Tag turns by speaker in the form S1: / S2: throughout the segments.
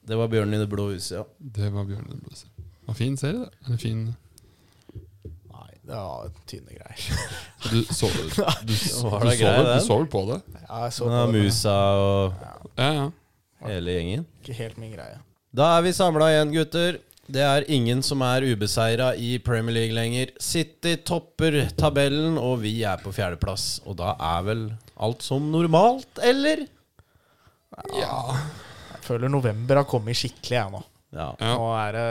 S1: Det var 'Bjørnen i det blå huset', ja.
S2: Det var Bjørn i det blå huset. Det var fin serie, det. Eller fin
S3: Nei, det var tynne greier.
S2: Du så du, du, s-
S1: Var
S2: du,
S1: det
S2: så
S1: grei,
S2: vel- du
S1: den?
S2: så vel på det?
S3: Ja, jeg så
S1: Den har
S3: på det, men
S1: musa og
S2: Ja, ja.
S1: hele gjengen.
S3: Ikke helt min greie.
S1: Da er vi samla igjen, gutter. Det er ingen som er ubeseira i Premier League lenger. City topper tabellen, og vi er på fjerdeplass. Og da er vel alt som normalt, eller?
S3: Jeg føler november har kommet skikkelig, jeg nå.
S1: Ja.
S2: Ja.
S3: Nå er det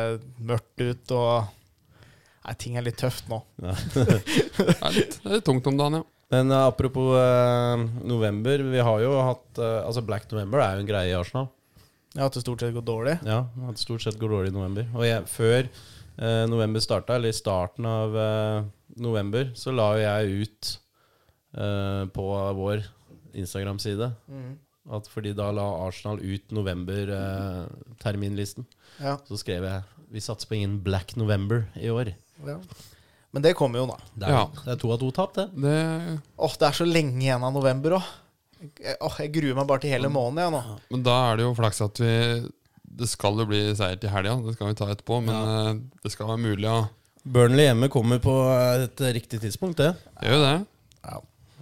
S3: mørkt ut, og Nei, ting er litt tøft nå.
S2: Det, er litt, det er litt tungt om dagen, ja.
S1: Men eh, apropos eh, november. Vi har jo hatt eh, Altså, Black November er jo en greie i Arsenal.
S3: Ja, at det stort sett går dårlig.
S1: Ja, at det stort sett går dårlig i november. Og jeg, før eh, november starta, eller i starten av eh, november, så la jo jeg ut eh, på vår Instagram-side at fordi da la Arsenal ut november-terminlisten.
S3: Ja,
S1: så skrev jeg vi satser på ingen Black November i år.
S3: ja. Men det kommer jo nå.
S1: Det er,
S2: Ja.
S1: det er to av to tap, det.
S2: Det,
S3: Åh, det er så lenge igjen av november òg. Jeg, åh, jeg gruer meg bare til hele måneden, jeg nå.
S2: men da er det jo flaks at vi Det skal jo bli seier til helga, det skal vi ta etterpå, men eh, det skal være mulig å
S1: Burnley hjemme kommer på et riktig tidspunkt, det.
S2: Det gjør jo det.
S3: Ja.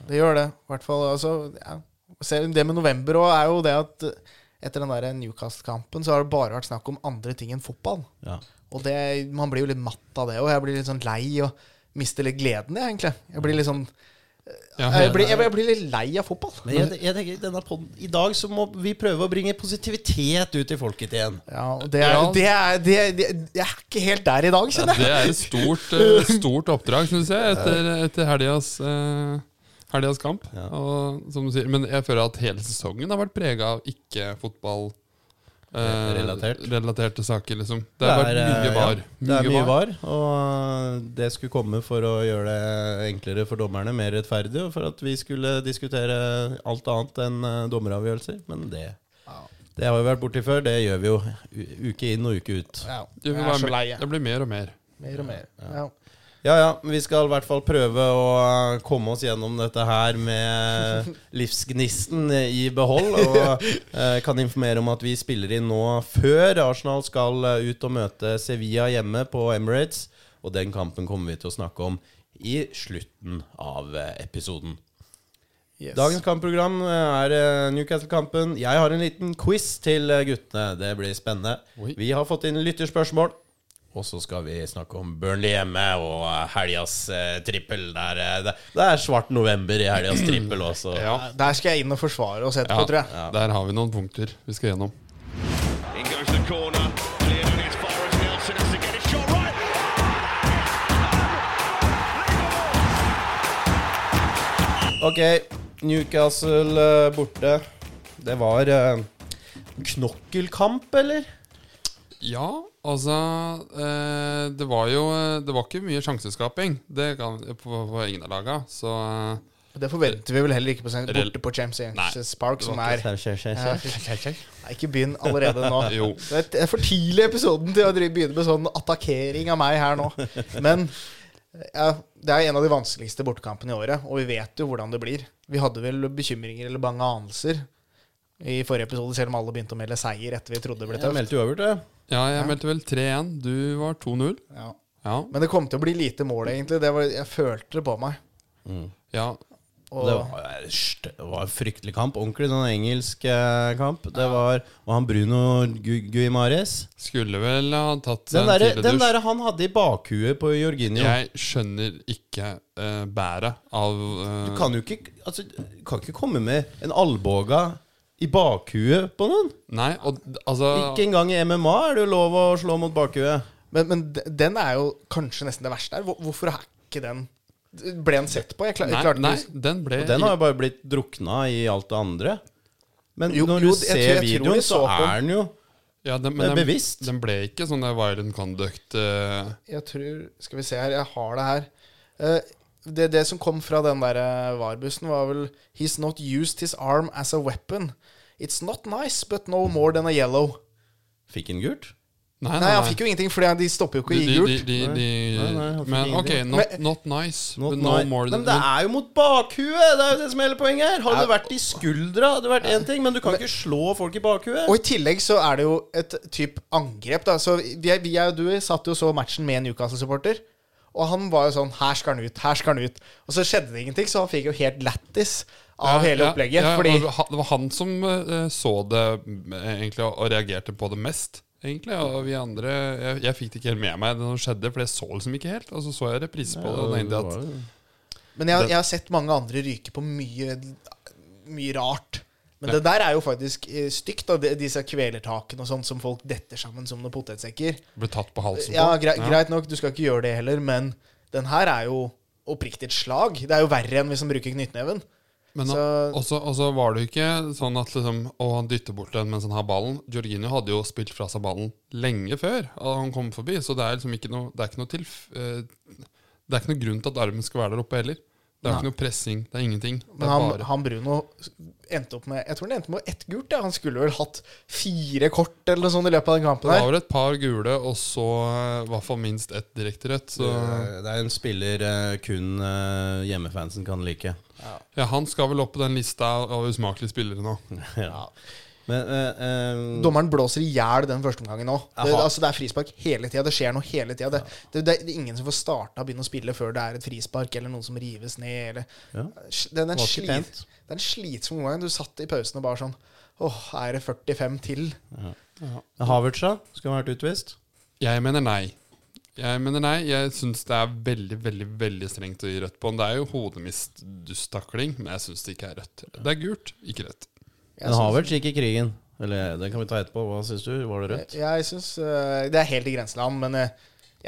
S3: Det gjør det. I hvert fall altså, ja. Se, Det med november òg er jo det at eh, etter den der Newcastle-kampen så har det bare vært snakk om andre ting enn fotball.
S1: Ja.
S3: Og det, man blir jo litt matt av det, og jeg blir litt sånn lei og mister litt gleden, jeg, egentlig. Jeg blir litt sånn
S2: Ja,
S3: jeg blir, jeg, jeg blir litt lei av fotball.
S1: Men jeg, jeg tenker, denne podden, I dag så må vi prøve å bringe positivitet ut til folket igjen.
S3: Ja, og det er,
S2: Ja.
S3: det er, det, det, Jeg er ikke helt der i dag, kjenner jeg.
S2: Det er et stort, eh, stort oppdrag, syns jeg, etter, etter helgas, eh, helgas kamp. Og, som du sier, men jeg føler at hele sesongen har vært prega av ikke-fotball. eh,
S1: Relatert.
S2: Relaterte saker, liksom. Det har vært mye
S1: eh, ja,
S2: var.
S1: det er mye var, og eh, det skulle komme for å gjøre det enklere for dommerne, mer rettferdig, og for at vi skulle diskutere alt annet enn eh, dommeravgjørelser. Men det, det har vi vært borti før. Det gjør vi jo u- uke inn og uke ut.
S3: Ja,
S2: Det,
S3: jeg
S2: vil
S3: er
S2: være
S3: så lei,
S2: mer-
S3: jeg.
S2: det blir mer og mer.
S3: Mer og mer. Ja.
S1: Ja, ja. men Vi skal i hvert fall prøve å eh, komme oss gjennom dette her med livsgnisten i behold. Og eh, kan informere om at vi spiller inn nå før Arsenal skal eh, ut og møte Sevilla hjemme på Emirates. Og den kampen kommer vi til å snakke om i slutten av eh, episoden.
S3: Yes.
S1: Dagens kampprogram er eh, Newcastle-kampen. Jeg har en liten quiz til eh, guttene. Det blir spennende.
S2: Oi.
S1: Vi har fått inn lytterspørsmål. Og så skal vi snakke om Burnley hjemme og eh, helgas eh, trippel. Der, eh, det, det er svart november i helgas trippel også.
S3: Der skal jeg inn og forsvare oss etterpå,
S2: Ja,
S3: tror jeg.
S2: Der har vi noen punkter vi skal gjennom.
S4: In goes the corner, cleared and it's far as Nelson has to get it shot right.
S1: Ok, Newcastle eh, borte. Det var eh, knokkelkamp, eller?
S2: Ja, altså eh, Det var jo eh, Det var ikke mye sjanseskaping det kan, på, på ingen av laga, så eh,
S3: Det forventer vi vel heller ikke på sen-
S2: Rel-
S3: borte på Champions Park, som
S2: var
S3: er Ja. Nei, ikke begynn allerede nå.
S2: Jo.
S3: Det er det er for tidlig i episoden til å drive- begynne med sånn attakkering av meg her nå. Men eh, ja, det er en av de vanskeligste bortekampene i året, og vi vet jo hvordan det blir. Vi hadde vel bekymringer eller bange anelser i forrige episode, selv om alle begynte å melde seier etter vi trodde det ble
S1: Jeg
S3: tøft.
S1: meldte jo over, det.
S2: Ja, jeg meldte vel 3-1. Du var 2-0.
S3: Ja.
S2: Ja.
S3: Men det kom til å bli lite mål, egentlig. Det var, jeg følte det på meg.
S2: ja.
S3: Og,
S1: Det var, st- det var en fryktelig kamp. Ordentlig sånn engelsk eh, kamp. Det var, og han Bruno Gu Guimares
S2: Skulle vel ha tatt
S1: Den
S2: en
S1: derre
S2: tidlig
S1: den
S2: dusj.
S1: derre han hadde i bakhuet på Jorginho
S2: Jeg skjønner ikke eh, bæret av eh,
S1: Du kan jo ikke, altså, du kan ikke komme med en alboga i bakhuet på noen.
S2: Nei, og d- altså
S1: Ikke engang i MMA er det jo lov å slå mot bakhuet.
S3: men, men de- den er jo kanskje nesten det verste her. Hvor- Hvorfor er ikke den Ble den sett på? Jeg klar,
S2: Nei,
S3: klarte
S2: nei,
S3: ikke-
S2: den ble
S1: Den har jo bare blitt drukna i alt det andre. Men
S3: Jo,
S1: når
S3: jo,
S1: du
S3: jeg tror- jeg
S1: ser
S3: tror vi
S1: videoen, så
S3: så på den.
S1: er den jo
S2: ja, den,
S1: det er
S2: men den,
S1: bevisst.
S2: Den ble ikke sånn der violent conduct eh,
S3: Jeg tror Skal vi se her. Jeg har det her. Eh, det, det som kom fra den der eh, VAR-bussen, var vel He's not used his arm as a weapon. It's not nice, but no more than a yellow.
S1: Fikk en gult?
S2: Nei,
S3: Nei, han fikk jo ingenting, for de stopper jo ikke å gi
S2: Ah. De,
S3: gult.
S2: de, de,
S1: Nei, nei, han
S2: de,
S1: fikk
S2: men ok,
S1: ingenting.
S2: not, not nice,
S1: Not
S2: but no
S1: nice.
S2: more
S1: men
S2: than
S1: det er jo mot bakhuet! Det er jo det som er hele poenget her. Hadde det vært i skuldra, hadde det vært én ting, men du kan ikke slå folk i bakhuet.
S3: Og i tillegg så er det jo et type angrep, da. Så vi, vi og du satt jo så matchen med en Newcastle-supporter. Og han var jo sånn Her skal han ut, her skal han ut. Og så skjedde det ingenting, så han fikk jo helt lættis av hele
S2: Ja,
S3: opplegget.
S2: ja,
S3: fordi
S2: og ha- Det var han som eh, så det mm, egentlig og og reagerte på det mest. Egentlig, og vi andre Jeg, jeg fikk det ikke helt med meg, det som skjedde, for jeg så liksom ikke helt. Og så så jeg reprise på det. Og tenkte at
S3: Men jeg, jeg har sett mange andre ryke på mye, mye rart. Men det der er jo faktisk eh, stygt, da, de- disse kvelertakene og sånn som folk detter sammen som noen potetsekker.
S2: det ble tatt på halsen.
S3: Ja,
S2: på.
S3: grei, Greit nok, du skal ikke gjøre det heller, men den her er jo oppriktig et slag. Det er jo verre enn hvis han bruker knyttneven.
S2: Men
S3: Så-
S2: også, også var det jo ikke sånn at liksom, å, han dytter bort den mens han har ballen. Jorginho hadde jo spilt fra seg ballen lenge før og han kom forbi, så det er liksom ikke noe, det er ikke noe tilf... eh, Det er ikke noe grunn til at armen skal være der oppe heller. Det er ikke noe pressing, det er ingenting. Det
S3: Men
S2: er
S3: han,
S2: bare
S3: han Bruno endte opp med Jeg tror han endte med ett gult. Ja. Han skulle vel hatt fire kort eller noe sånt i løpet av den kampen.
S2: Det var
S3: her
S2: vel et par gule, og så eh, i hvert fall minst ett direkte rødt. Så
S1: Det er en spiller eh, kun eh, hjemmefansen kan like.
S2: ja, han skal vel opp på den lista av usmakelige spillere nå.
S1: Ja. Men eh, eh,
S3: Dommeren blåser i hjel den første omgangen òg. Det,
S1: Aha.
S3: altså, det er frispark hele tida. Det skjer noe hele tida. Det, det, det er ingen som får starta og begynne å spille før det er et frispark eller noen som rives ned. Eller.
S1: Ja.
S3: Det, er en
S1: Var ikke
S3: slit,
S1: pent.
S3: det er en slitsom omgang. Du satt i pausen og bare sånn Åh, er det 45 til?
S1: Havertz, da? Skulle han vært utvist?
S2: Jeg mener nei. Jeg mener nei. Jeg syns det er veldig veldig, veldig strengt å gi rødt på han. Det er jo hodemist-dusttakling, men jeg syns det ikke er rødt. Det er gult, ikke rødt.
S1: Men Havertz gikk i krigen. Eller det kan vi ta etterpå. Hva syns du? Var det rødt?
S3: Jeg synes, eh, Det er helt i grenseland, men eh,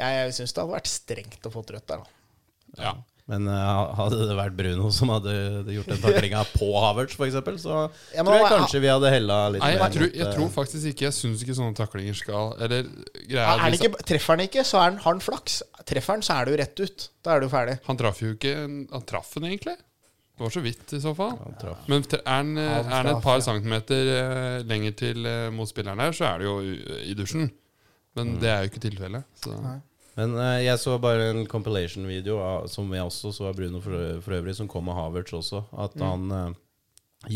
S3: jeg syns det hadde vært strengt å få rødt der, da.
S2: Ja.
S1: Men eh, hadde det vært Bruno som hadde gjort den taklinga på Havertz, f.eks., så
S3: Ja, men
S1: tror jeg
S3: han-
S1: kanskje vi hadde hella litt
S2: Nei, jeg
S1: mer
S2: tror,
S1: mot,
S2: jeg
S1: eh,
S2: tror faktisk ikke Jeg syns ikke sånne taklinger skal Eller greia
S3: Er
S2: er
S3: han
S2: liksom,
S3: ikke, treffer han ikke, så er han, har han flaks. Treffer han, så er det jo rett ut. Da er det jo ferdig.
S2: Han traff jo ikke Han traff han egentlig? Det var så vidt, i så fall.
S1: han traff.
S2: Men tre- er den, eh,
S3: Han
S2: er den
S3: traff,
S2: et par
S3: ja.
S2: centimeter eh, lenger til eh, mot spilleren her, så er det jo u- i dusjen.
S1: Mm.
S2: Men det er jo ikke tilfellet. Så.
S1: Men eh, jeg så bare en compilation-video av- som jeg også så av Bruno for, for øvrig, som kom med Havertz også. At han eh,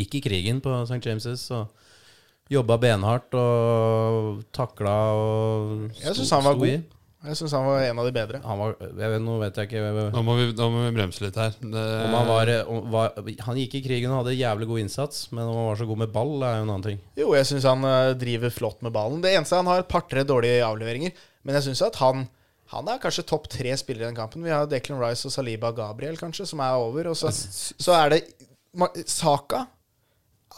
S1: gikk i krigen på St. James' og jobba benhardt og takla og
S3: Jeg
S1: sto-
S3: synes han var
S1: sto
S3: god.
S1: i.
S3: Jeg syns han var en av de bedre.
S1: Han var, jeg vet, nå vet jeg ikke
S2: Nå, må vi, nå må vi bremse litt her. Det,
S1: om han var, om, var Han gikk i krigen og hadde jævlig god innsats, men om han var så god med ball, er jo en annen ting.
S3: Jo, jeg syns han eh, driver flott med ballen. Det eneste han har et par-tre dårlige avleveringer. Men jeg syns at han han er kanskje topp tre spillere i den kampen. Vi har Declan Rice og Saliba Gabriel, kanskje, som er over. Og så, så er det Ma- Saka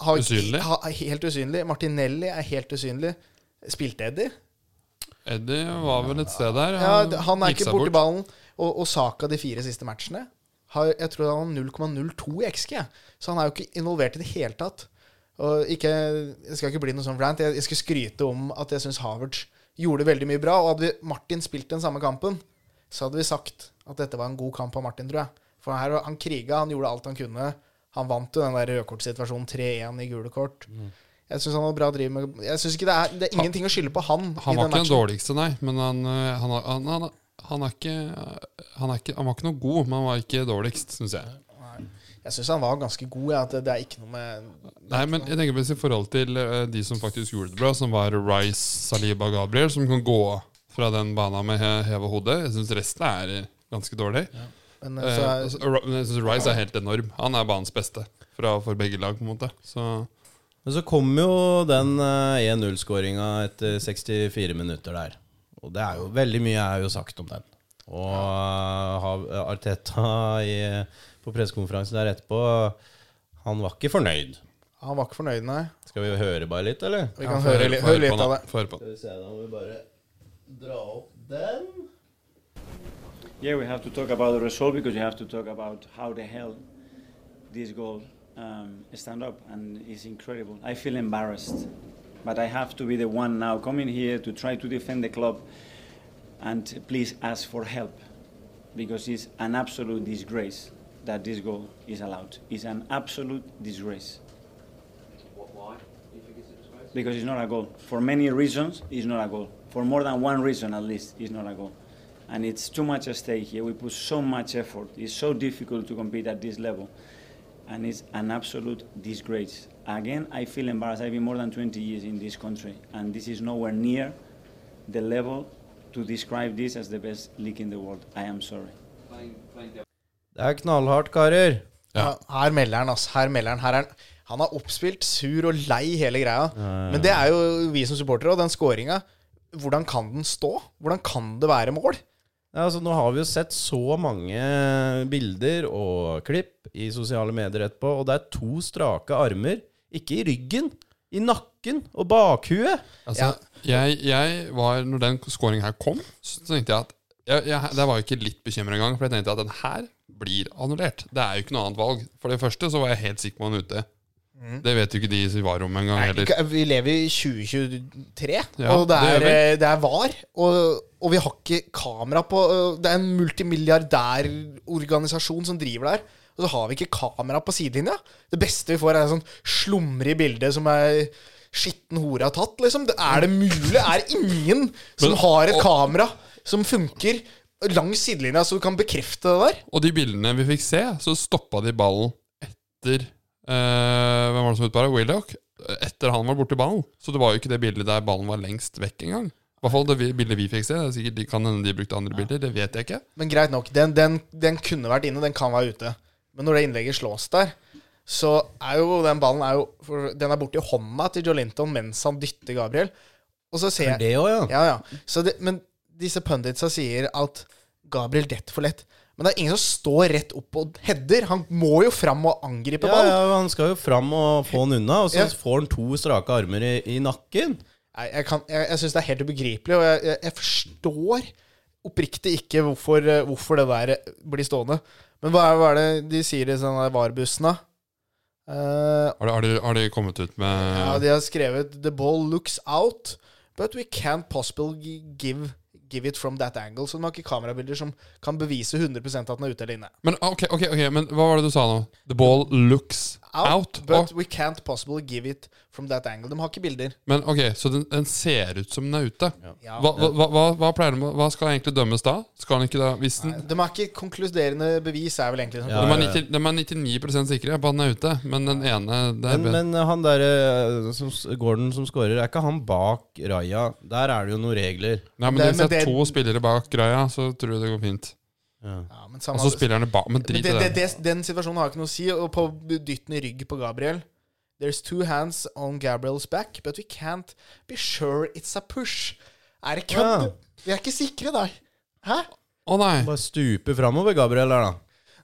S3: har,
S2: Usynlig.
S3: ha- er helt usynlig. Martinelli er helt usynlig. Spilte Eddie?
S2: Eddie var vel et sted der.
S3: Ja, d- han er
S2: gikk
S3: ikke
S2: seg
S3: borti ballen. Og, og Saka de fire siste matchene har, Jeg tror han har 0,02 i XG. Så han er jo ikke involvert i det hele tatt. Og ikke, jeg skal ikke bli noe sånn rant. Jeg, jeg skal skryte om at jeg syns Havertz gjorde veldig mye bra. Og hadde vi Martin spilt den samme kampen, så hadde vi sagt at dette var en god kamp av Martin, tror jeg. For her, han kriga, han gjorde alt han kunne. Han vant jo den der rødkortsituasjonen 3-1 i gule kort.
S2: Mm.
S3: Jeg syns han var bra driv med Jeg synes ikke det, er, det er ingenting å skylde på han. i
S2: Han var ikke
S3: den
S2: den
S3: matchen.
S2: dårligste, nei. Men han, eh, han, han, han, han, er ikke, han er ikke Han var ikke noe god, men han var ikke dårligst, syns jeg.
S3: Jeg syns han var ganske god. Ja, at det, det er ikke noe med
S2: Nei, men jeg tenker mest i forhold til eh, de som faktisk gjorde det bra, som var Rice, Saliba, Gabriel, som kan gå fra den bana med he heva hode. Jeg syns resten er eh, ganske dårlig.
S3: men,
S2: Eh,
S3: så,
S2: altså, Ri- men jeg syns Rice er helt enorm. Han er banens beste fra, for begge lag, på en måte. Så
S1: Men så kom jo den 1-0-skåringa etter 64 minutter der. Og det er jo veldig mye er jo sagt om den. Og eh, Hav- Arteta i, på pressekonferansen der etterpå, han var ikke fornøyd.
S3: Han var ikke fornøyd, nei.
S1: Skal vi høre bare litt, eller?
S3: Vi kan
S2: Ja,
S3: høre,
S2: får
S3: li-
S2: får
S3: høre
S2: på
S3: litt
S2: han,
S3: av
S2: da.
S3: det.
S2: Får høre på han.
S1: Skal vi se, da må vi bare dra opp den.
S5: Yeah, we have to talk about the result because you have to talk about how the hell this goal um, stand up, and it's incredible. I feel embarrassed, but I have to be the one now coming here to try to defend the club, and please ask for help, because it's an absolute disgrace that this goal is allowed. It's an absolute disgrace. What, why? Because it's not a goal. For many reasons, it's not a goal. for more than one reason at least is not a goal. And it's too much at stake here. We put so much effort. It's so difficult to compete at this level. And it's an absolute disgrace. Again, I feel embarrassed. I've been more than 20 years in this country, and this is nowhere near the level to describe this as the best league in the world. I am sorry.
S1: Det er knallhardt, karer.
S2: Ja.
S3: Her melder han, altså. Her melder han. Her er han. Han er oppspilt, sur og lei hele greia. Men det er jo vi som supportere, og den scoringa Hvordan kan den stå? Hvordan kan det være mål?
S1: Ja, altså, nå har vi jo sett så mange bilder og klipp i sosiale medier etterpå, og det er to strake armer. Ikke i ryggen, i nakken og bakhuet.
S2: Altså, jeg, jeg var, når den scoringen her kom, så tenkte jeg at jeg, jeg, Der var jeg ikke litt bekymret engang, for jeg tenkte at den her blir annullert. Det er jo ikke noe annet valg. For det første så var jeg helt sikker på han ute. Det vet jo ikke de i varerommet engang heller.
S3: Vi lever i 2023,
S2: Ja,
S3: og det
S2: det
S3: er,
S2: gjør vi.
S3: eh, det er var. Og, og vi har ikke kamera på øh, Det er en multimilliardærorganisasjon som driver der. Og så har vi ikke kamera på sidelinja. Det beste vi får, er en sånn slumre i bildet som er skitten hore har tatt, liksom. Det er det mulig? Er det ingen som
S2: Men-
S3: har et
S2: og-
S3: kamera som funker langs sidelinja, så du kan bekrefte det der?
S2: Og de bildene vi fikk se, så stoppa de ballen etter eh, Hvem var det som utbara? Willoch? Etter han var borti ballen. Så det var jo ikke det bildet der ballen var lengst vekk engang. I hvert fall det vi- bildet vi fikk se. Det er sikkert de kan hende de brukte andre bilder, det vet jeg ikke.
S3: Men greit nok, den, den, den kunne vært inne, den kan være ute. Men når det innlegget slås der, så er jo den ballen er jo, for Den er borti hånda til Joe Linton mens han dytter Gabriel. Og så ser jeg
S1: Det òg, ja.
S3: ja, ja. Så det, men disse punditsa sier at Gabriel detter for lett. Men det er ingen som står rett opp og header. Han må jo fram og angripe
S1: Ja,
S3: ball.
S1: ja, Han skal jo fram og få han unna, og så
S3: Ja.
S1: får han to strake armer i, i nakken.
S3: Nei, jeg, kan- jeg, jeg syns det er helt ubegripelig, og jeg, jeg, jeg forstår oppriktig ikke hvorfor, eh, hvorfor det der blir stående. Men hva er, hva er det de sier i sånne VAR-bussen, da? Eh,
S2: Har de, har de, har de kommet ut med
S3: ja, de har skrevet 'The ball looks out, but we can't possibly give, give it from that angle'. Så de har ikke kamerabilder som kan bevise 100 at den er ute eller inne.
S2: Men ah, ok, ok, ok, men hva var det du sa nå? The ball looks out.
S3: but
S2: Å,
S3: we can't possibly give it from that angle. De har ikke bilder.
S2: men ok, Så den, den ser ut som den er ute.
S3: Ja.
S2: Hva, hva, hva, hva, pleier den, hva skal egentlig dømmes da? Skal den ikke da, hvis den
S3: De har ikke konkluderende bevis, er vel egentlig som
S1: Ja.
S2: De er, 90, de er 99 sikre på at den er ute, men den ene det er
S1: Men, men han derre som s- Gordon som scorer, er ikke han bak Raja? Der er det jo noen regler.
S2: Nei, men
S3: det-
S2: Hvis det
S3: men
S2: er
S3: det-
S2: to spillere bak greia, så tror jeg det går fint.
S3: Ja, men
S2: Og
S3: samme-
S2: så spiller han bak, men
S3: Men
S2: drit i
S3: det,
S2: det.
S3: det, det, den situasjonen har ikke noe å si. Og på dytten i rygg på Gabriel There's two hands on Gabriel's back, but we can't be sure it's a push. Er det kødd?
S1: Ja.
S3: Vi er ikke sikre der. Hæ?
S2: Å nei!
S1: Bare stupe framover, Gabriel der, da.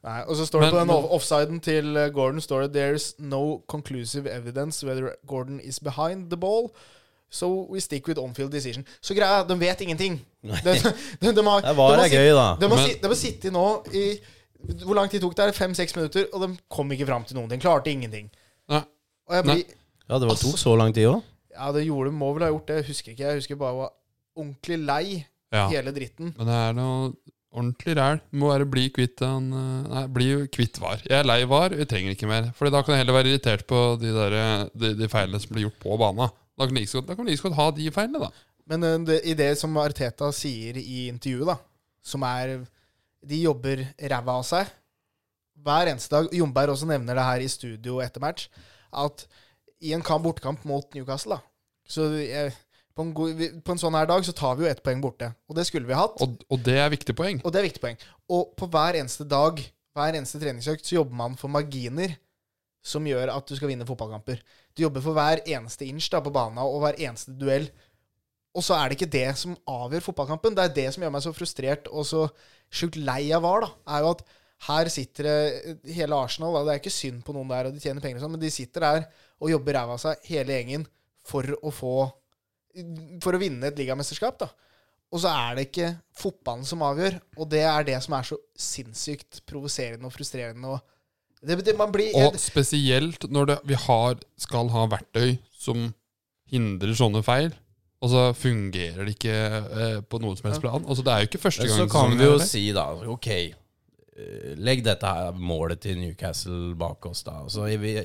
S3: Nei, og så står det
S2: Men-
S3: på den off- offsiden til eh, Gordon står det There's no conclusive evidence whether Gordon is behind the ball. So we stick with on-field decision. Så greia, er, de vet ingenting. De, de, de har,
S1: Det var
S3: de har
S1: det
S3: sitt-
S1: gøy, da.
S3: De har,
S2: Men-
S3: si, de har sittet nå i Hvor lang tid tok det? Fem-seks minutter, og de kom ikke fram til noen ting. Klarte ingenting.
S2: nei.
S3: Og jeg blir,
S1: Ja, Det var, tok så lang tid òg.
S3: ja, det gjorde de, må vel ha gjort det. Jeg husker ikke. Jeg husker bare jeg var ordentlig lei
S2: Ja.
S3: hele dritten.
S2: Men det er noe ordentlig ræl. Må bare bli kvitt den eh, Nei, bli jo kvitt var. Jeg er lei var, vi trenger ikke mer. For da kan jeg heller være irritert på de, der, eh, de, de feilene som blir gjort på bana. Da kan vi like så godt- da kan vi like så godt ha de feilene, da.
S3: Men eh, det, i det som Arteta sier i intervjuet, da, som er De jobber ræva av seg hver eneste dag. Jomberg også nevner det her i studio etter match, at i en kamp bortekamp mot Newcastle, da Så eh, på en, god, vi- på en sånn her dag så tar vi jo ett poeng borte. Og det skulle vi hatt.
S2: Og, og det er viktig poeng.
S3: Og det er viktig poeng. Og på hver eneste dag, hver eneste treningsøkt, så jobber man for marginer som gjør at du skal vinne fotballkamper. Du jobber for hver eneste inch da, på banen og hver eneste duell. Og så er det ikke det som avgjør fotballkampen. Det er det som gjør meg så frustrert og så sjukt lei av VAR, da. Er jo at her sitter det eh, hele Arsenal, da. det er ikke synd på noen der, og de tjener penger og sånn, men de sitter der og jobber ræva av seg, hele gjengen, for å få For å vinne et ligamesterskap, da. Og så er det ikke fotballen som avgjør, og det er det som er så sinnssykt provoserende og frustrerende. Og det, det, man blir,
S2: Og spesielt når det, vi har, skal ha verktøy som hindrer sånne feil, og så fungerer det ikke eh, på noen som helst plan. Altså, det er jo ikke første gang
S1: Så
S2: sesongen
S1: kan vi jo
S2: er det.
S1: si, da, ok eh, Legg dette her målet til Newcastle bak oss, da. Altså, jeg, vi-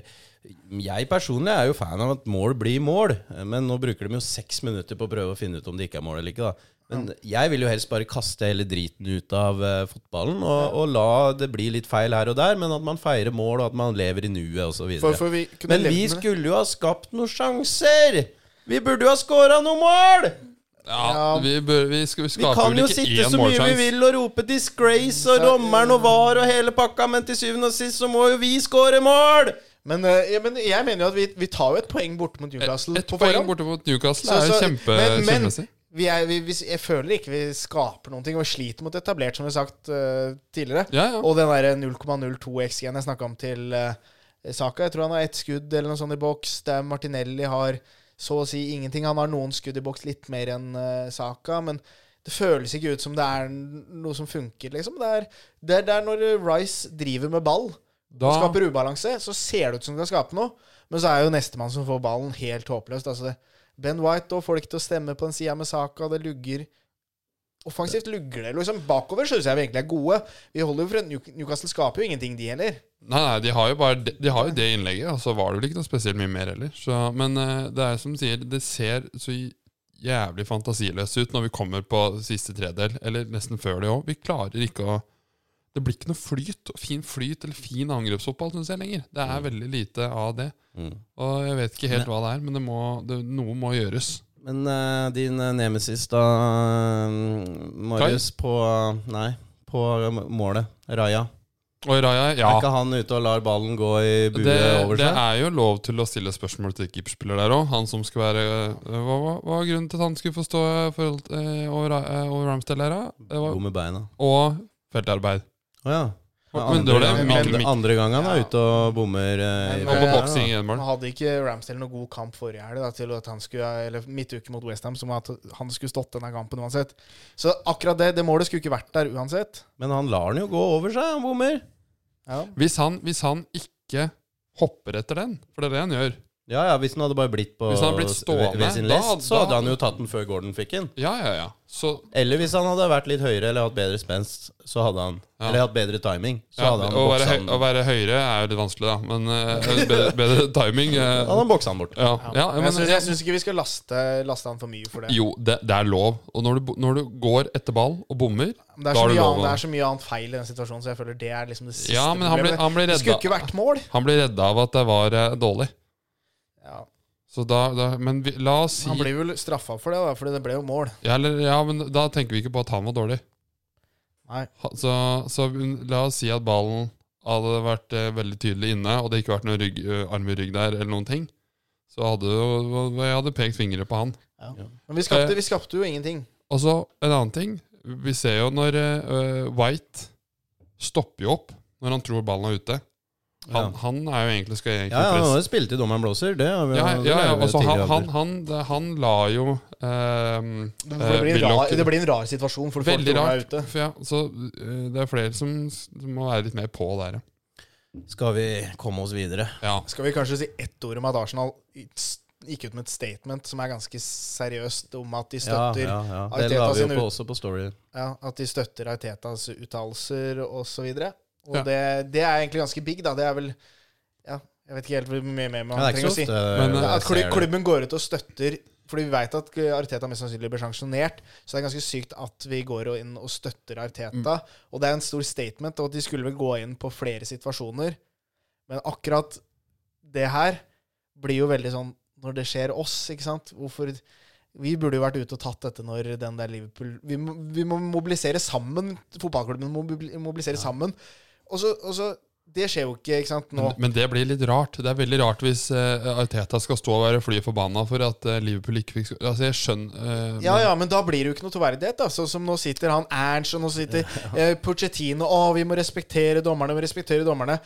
S1: jeg personlig er jo fan av at mål blir mål, eh, men nå bruker de jo seks minutter på å prøve å finne ut om det ikke er mål eller ikke. da men jeg vil jo helst bare kaste hele driten ut av eh, fotballen og, og la det bli litt feil her og der, men at man feirer mål og at man lever i nuet osv.
S3: For- for vi kunne
S1: Men
S3: levd
S1: vi
S3: med det.
S1: skulle jo ha skapt noen sjanser! Vi burde jo ha scora noen mål!
S2: Ja, vi, bør, vi, skal, vi
S1: Vi
S2: skaper
S1: kan
S2: vel
S1: jo
S2: ikke
S1: sitte
S2: én
S1: så mye vi
S2: målsjanse.
S1: vil og rope 'disgrace' og dommeren og var og hele pakka, men til syvende og sist så må jo vi score mål!
S3: Men, eh, ja, men jeg mener jo at vi, vi tar jo et poeng borte mot Newcastle
S2: Eh, Et
S3: på
S2: poeng
S3: forhånd.
S2: borte mot Newcastle
S3: Så-
S2: er jo
S3: så-
S2: kjempe,
S3: men- men
S2: kjempemessig.
S3: Vi er, vi, vi, jeg føler ikke vi skaper noen ting, og vi sliter mot etablert, som vi har sagt eh, tidligere.
S2: Ja, ja.
S3: Og den derre 0,02 XG-en jeg snakka om til eh, Saka Jeg tror han har ett skudd eller noe sånt i boks. Der Martinelli har så å si ingenting. Han har noen skudd i boks, litt mer enn eh, Saka. Men det føles ikke ut som det er noe som funker, liksom. Det er, det er, det er når Rice driver med ball
S2: Da,
S3: og skaper ubalanse, så ser det ut som du kan skape noe. Men så er jo nestemann som får ballen, helt håpløst. Altså det, ben White da får det ikke til å stemme på en side med saka. Det lugger Offensivt lugger det. liksom Bakover syns jeg vi egentlig er gode. Vi holder jo for New- Newcastle skaper jo ingenting, de heller.
S2: nei, nei, de har jo bare de, de har jo det innlegget, og så var det vel ikke noe spesielt mye mer heller. Så, men eh, det er som du sier, det ser så jævlig fantasiløst ut når vi kommer på siste tredel, eller nesten før det òg. Vi klarer ikke å Det blir ikke noe flyt, fin flyt eller fin angrepsfotball, syns jeg, lenger. Det
S3: Mm.
S2: er veldig lite av det. Og jeg vet ikke helt hva det er, men det må, det, noe må gjøres.
S1: Men eh, din eh, nemesis da, eh, Marius, på Nei, på målet. Raja.
S2: Og Raja, ja.
S1: Er ikke han ute og lar ballen gå i bue
S2: Det,
S1: eh, over
S2: det
S1: seg?
S2: er jo lov til å stille spørsmål til keeperspiller der òg. Han som skulle være øh, Hva hva- hva var grunnen til at han skulle få stå øh, forhold, øh, over, øh, over Ramsdale der, da? Det var,
S1: God med beina.
S2: og feltarbeid.
S1: Å ja. Ja,
S2: Men
S1: andre,
S2: det var det
S1: gang-
S2: Mikkel-
S1: andre,
S2: Mikkel-
S1: andre gang han er ute og bommer eh, i
S2: Og
S3: Ja,
S2: på
S1: feltet, da.
S2: boksing i en mål.
S3: Han hadde ikke Ramsdale noen god kamp forrige helg, da, til at han skulle, eller midtuke mot Westham, som at han skulle stått denne kampen uansett. Så akkurat det, det målet skulle ikke vært der uansett.
S1: Men han lar den jo gå over seg, han bommer.
S3: Ja.
S2: Hvis han, hvis han ikke hopper etter den, for det er det han gjør
S1: Ja, ja, Hvis den hadde bare blitt på
S2: Hvis han hadde blitt stående,
S1: ved sin
S2: da-
S1: lest, så hadde
S2: da-
S1: han jo tatt den før Gordon fikk den.
S2: Ja, ja, ja. Så
S1: Eller hvis han hadde vært litt høyere eller hatt bedre spenst, så hadde han
S2: Ja.
S1: Eller hatt bedre timing, så
S2: ja,
S1: hadde han
S2: å, være
S1: boksa
S2: høy,
S1: den.
S2: å være høyere er jo litt vanskelig, da. Men øh, bedre, bedre timing øh,
S1: Da hadde han boksa den bort.
S2: ja. ja, men,
S3: Men jeg syns- jeg syns ikke vi skal laste, laste han for mye for det.
S2: jo, det, det er lov. Og når du, bo- når du går etter ball og bommer,
S3: Men
S2: da
S3: Det er, så
S2: er det
S3: mye
S2: lov.
S3: annet,
S2: å-
S3: det er så mye annet feil i den situasjonen, så jeg føler det er liksom det siste
S2: Ja, men han ble,
S3: problemet.
S2: han ble
S3: det skulle
S2: redda.
S3: ikke vært mål.
S2: Han ble redda av at det var eh, dårlig.
S3: Ja,
S2: Så da, da, men vi, la oss si
S3: han blir vel straffa for det, da, for det ble jo mål.
S2: ja, eller, ja, men da tenker vi ikke på at han var dårlig.
S3: Nei.
S2: Ha- Så, så la oss si at ballen hadde vært eh, veldig tydelig inne, og det ikke vært noen rygg, eh, arm i rygg der, eller noen ting. Så hadde jo jeg hadde pekt fingre på han.
S3: Men vi
S2: Eh,
S3: skapte, vi skapte jo ingenting.
S2: Og så en annen ting. Vi ser jo når eh, White stopper jo opp når han tror ballen er ute. Han,
S1: Ja.
S2: han er jo egentlig skal egentlig
S1: Ja, ja, han
S2: presse.
S1: har jo spilt i dommeren blåser. Det har vi
S2: Ja,
S1: det
S2: ja,
S1: lærer
S2: ja.
S1: vi jo
S2: Altså, han,
S1: tidligere
S2: han,
S1: aldri.
S2: han, han la jo ehm,
S3: Det
S2: eh,
S3: blir, en
S2: Willoch-
S3: rar, det blir en rar situasjon, for folk
S2: Veldig
S3: tror han er
S2: rart.
S3: ute.
S2: For ja, så eh, det er flere som s- må være litt mer på der, ja.
S1: Skal vi komme oss videre?
S2: ja.
S3: Skal vi kanskje si ett ord om at Arsenal gikk ut med et statement som er ganske seriøst, om at de støtter
S1: ja, ja, ja. Det la
S3: Arteta
S1: vi
S3: sin
S1: jo på,
S3: ut-
S1: også på Story.
S3: Ja, at de støtter Artetas uttalelser osv. Og, og
S2: Ja.
S3: det, det er egentlig ganske big, da. Det er vel Ja, jeg vet ikke helt hvor mye
S1: Ja,
S3: mer man
S1: det er ikke
S3: trenger
S1: så
S3: å si.
S1: ofte
S2: Men,
S1: jeg
S2: eh,
S3: At
S1: ser
S3: klu-
S1: det.
S3: klubben går ut og støtter Fordi vi vet at Arteta mest sannsynlig blir sanksjonert. Så det er ganske sykt at vi går og inn og støtter Arteta.
S1: Mm.
S3: Og det er en stor statement, og at de skulle vel gå inn på flere situasjoner. Men akkurat det her blir jo veldig sånn når det skjer oss, ikke sant? Hvorfor Vi burde jo vært ute og tatt dette når den der Liverpool Vi må, vi må mobilisere sammen. Fotballklubben må mobil- mobilisere sammen. Og så, og så Det skjer jo ikke, ikke sant, nå.
S2: Men, men det blir litt rart. Det er veldig rart hvis eh, Arteta skal stå og være fly forbanna for at eh, Liverpool ikke fikk sk- Altså, jeg skjønner eh,
S3: Ja, ja, men da blir det jo ikke noe troverdighet. da. Sånn som nå sitter han Ernst, og nå sitter eh, Pochettino Å, vi må respektere dommerne, vi må respektere dommerne.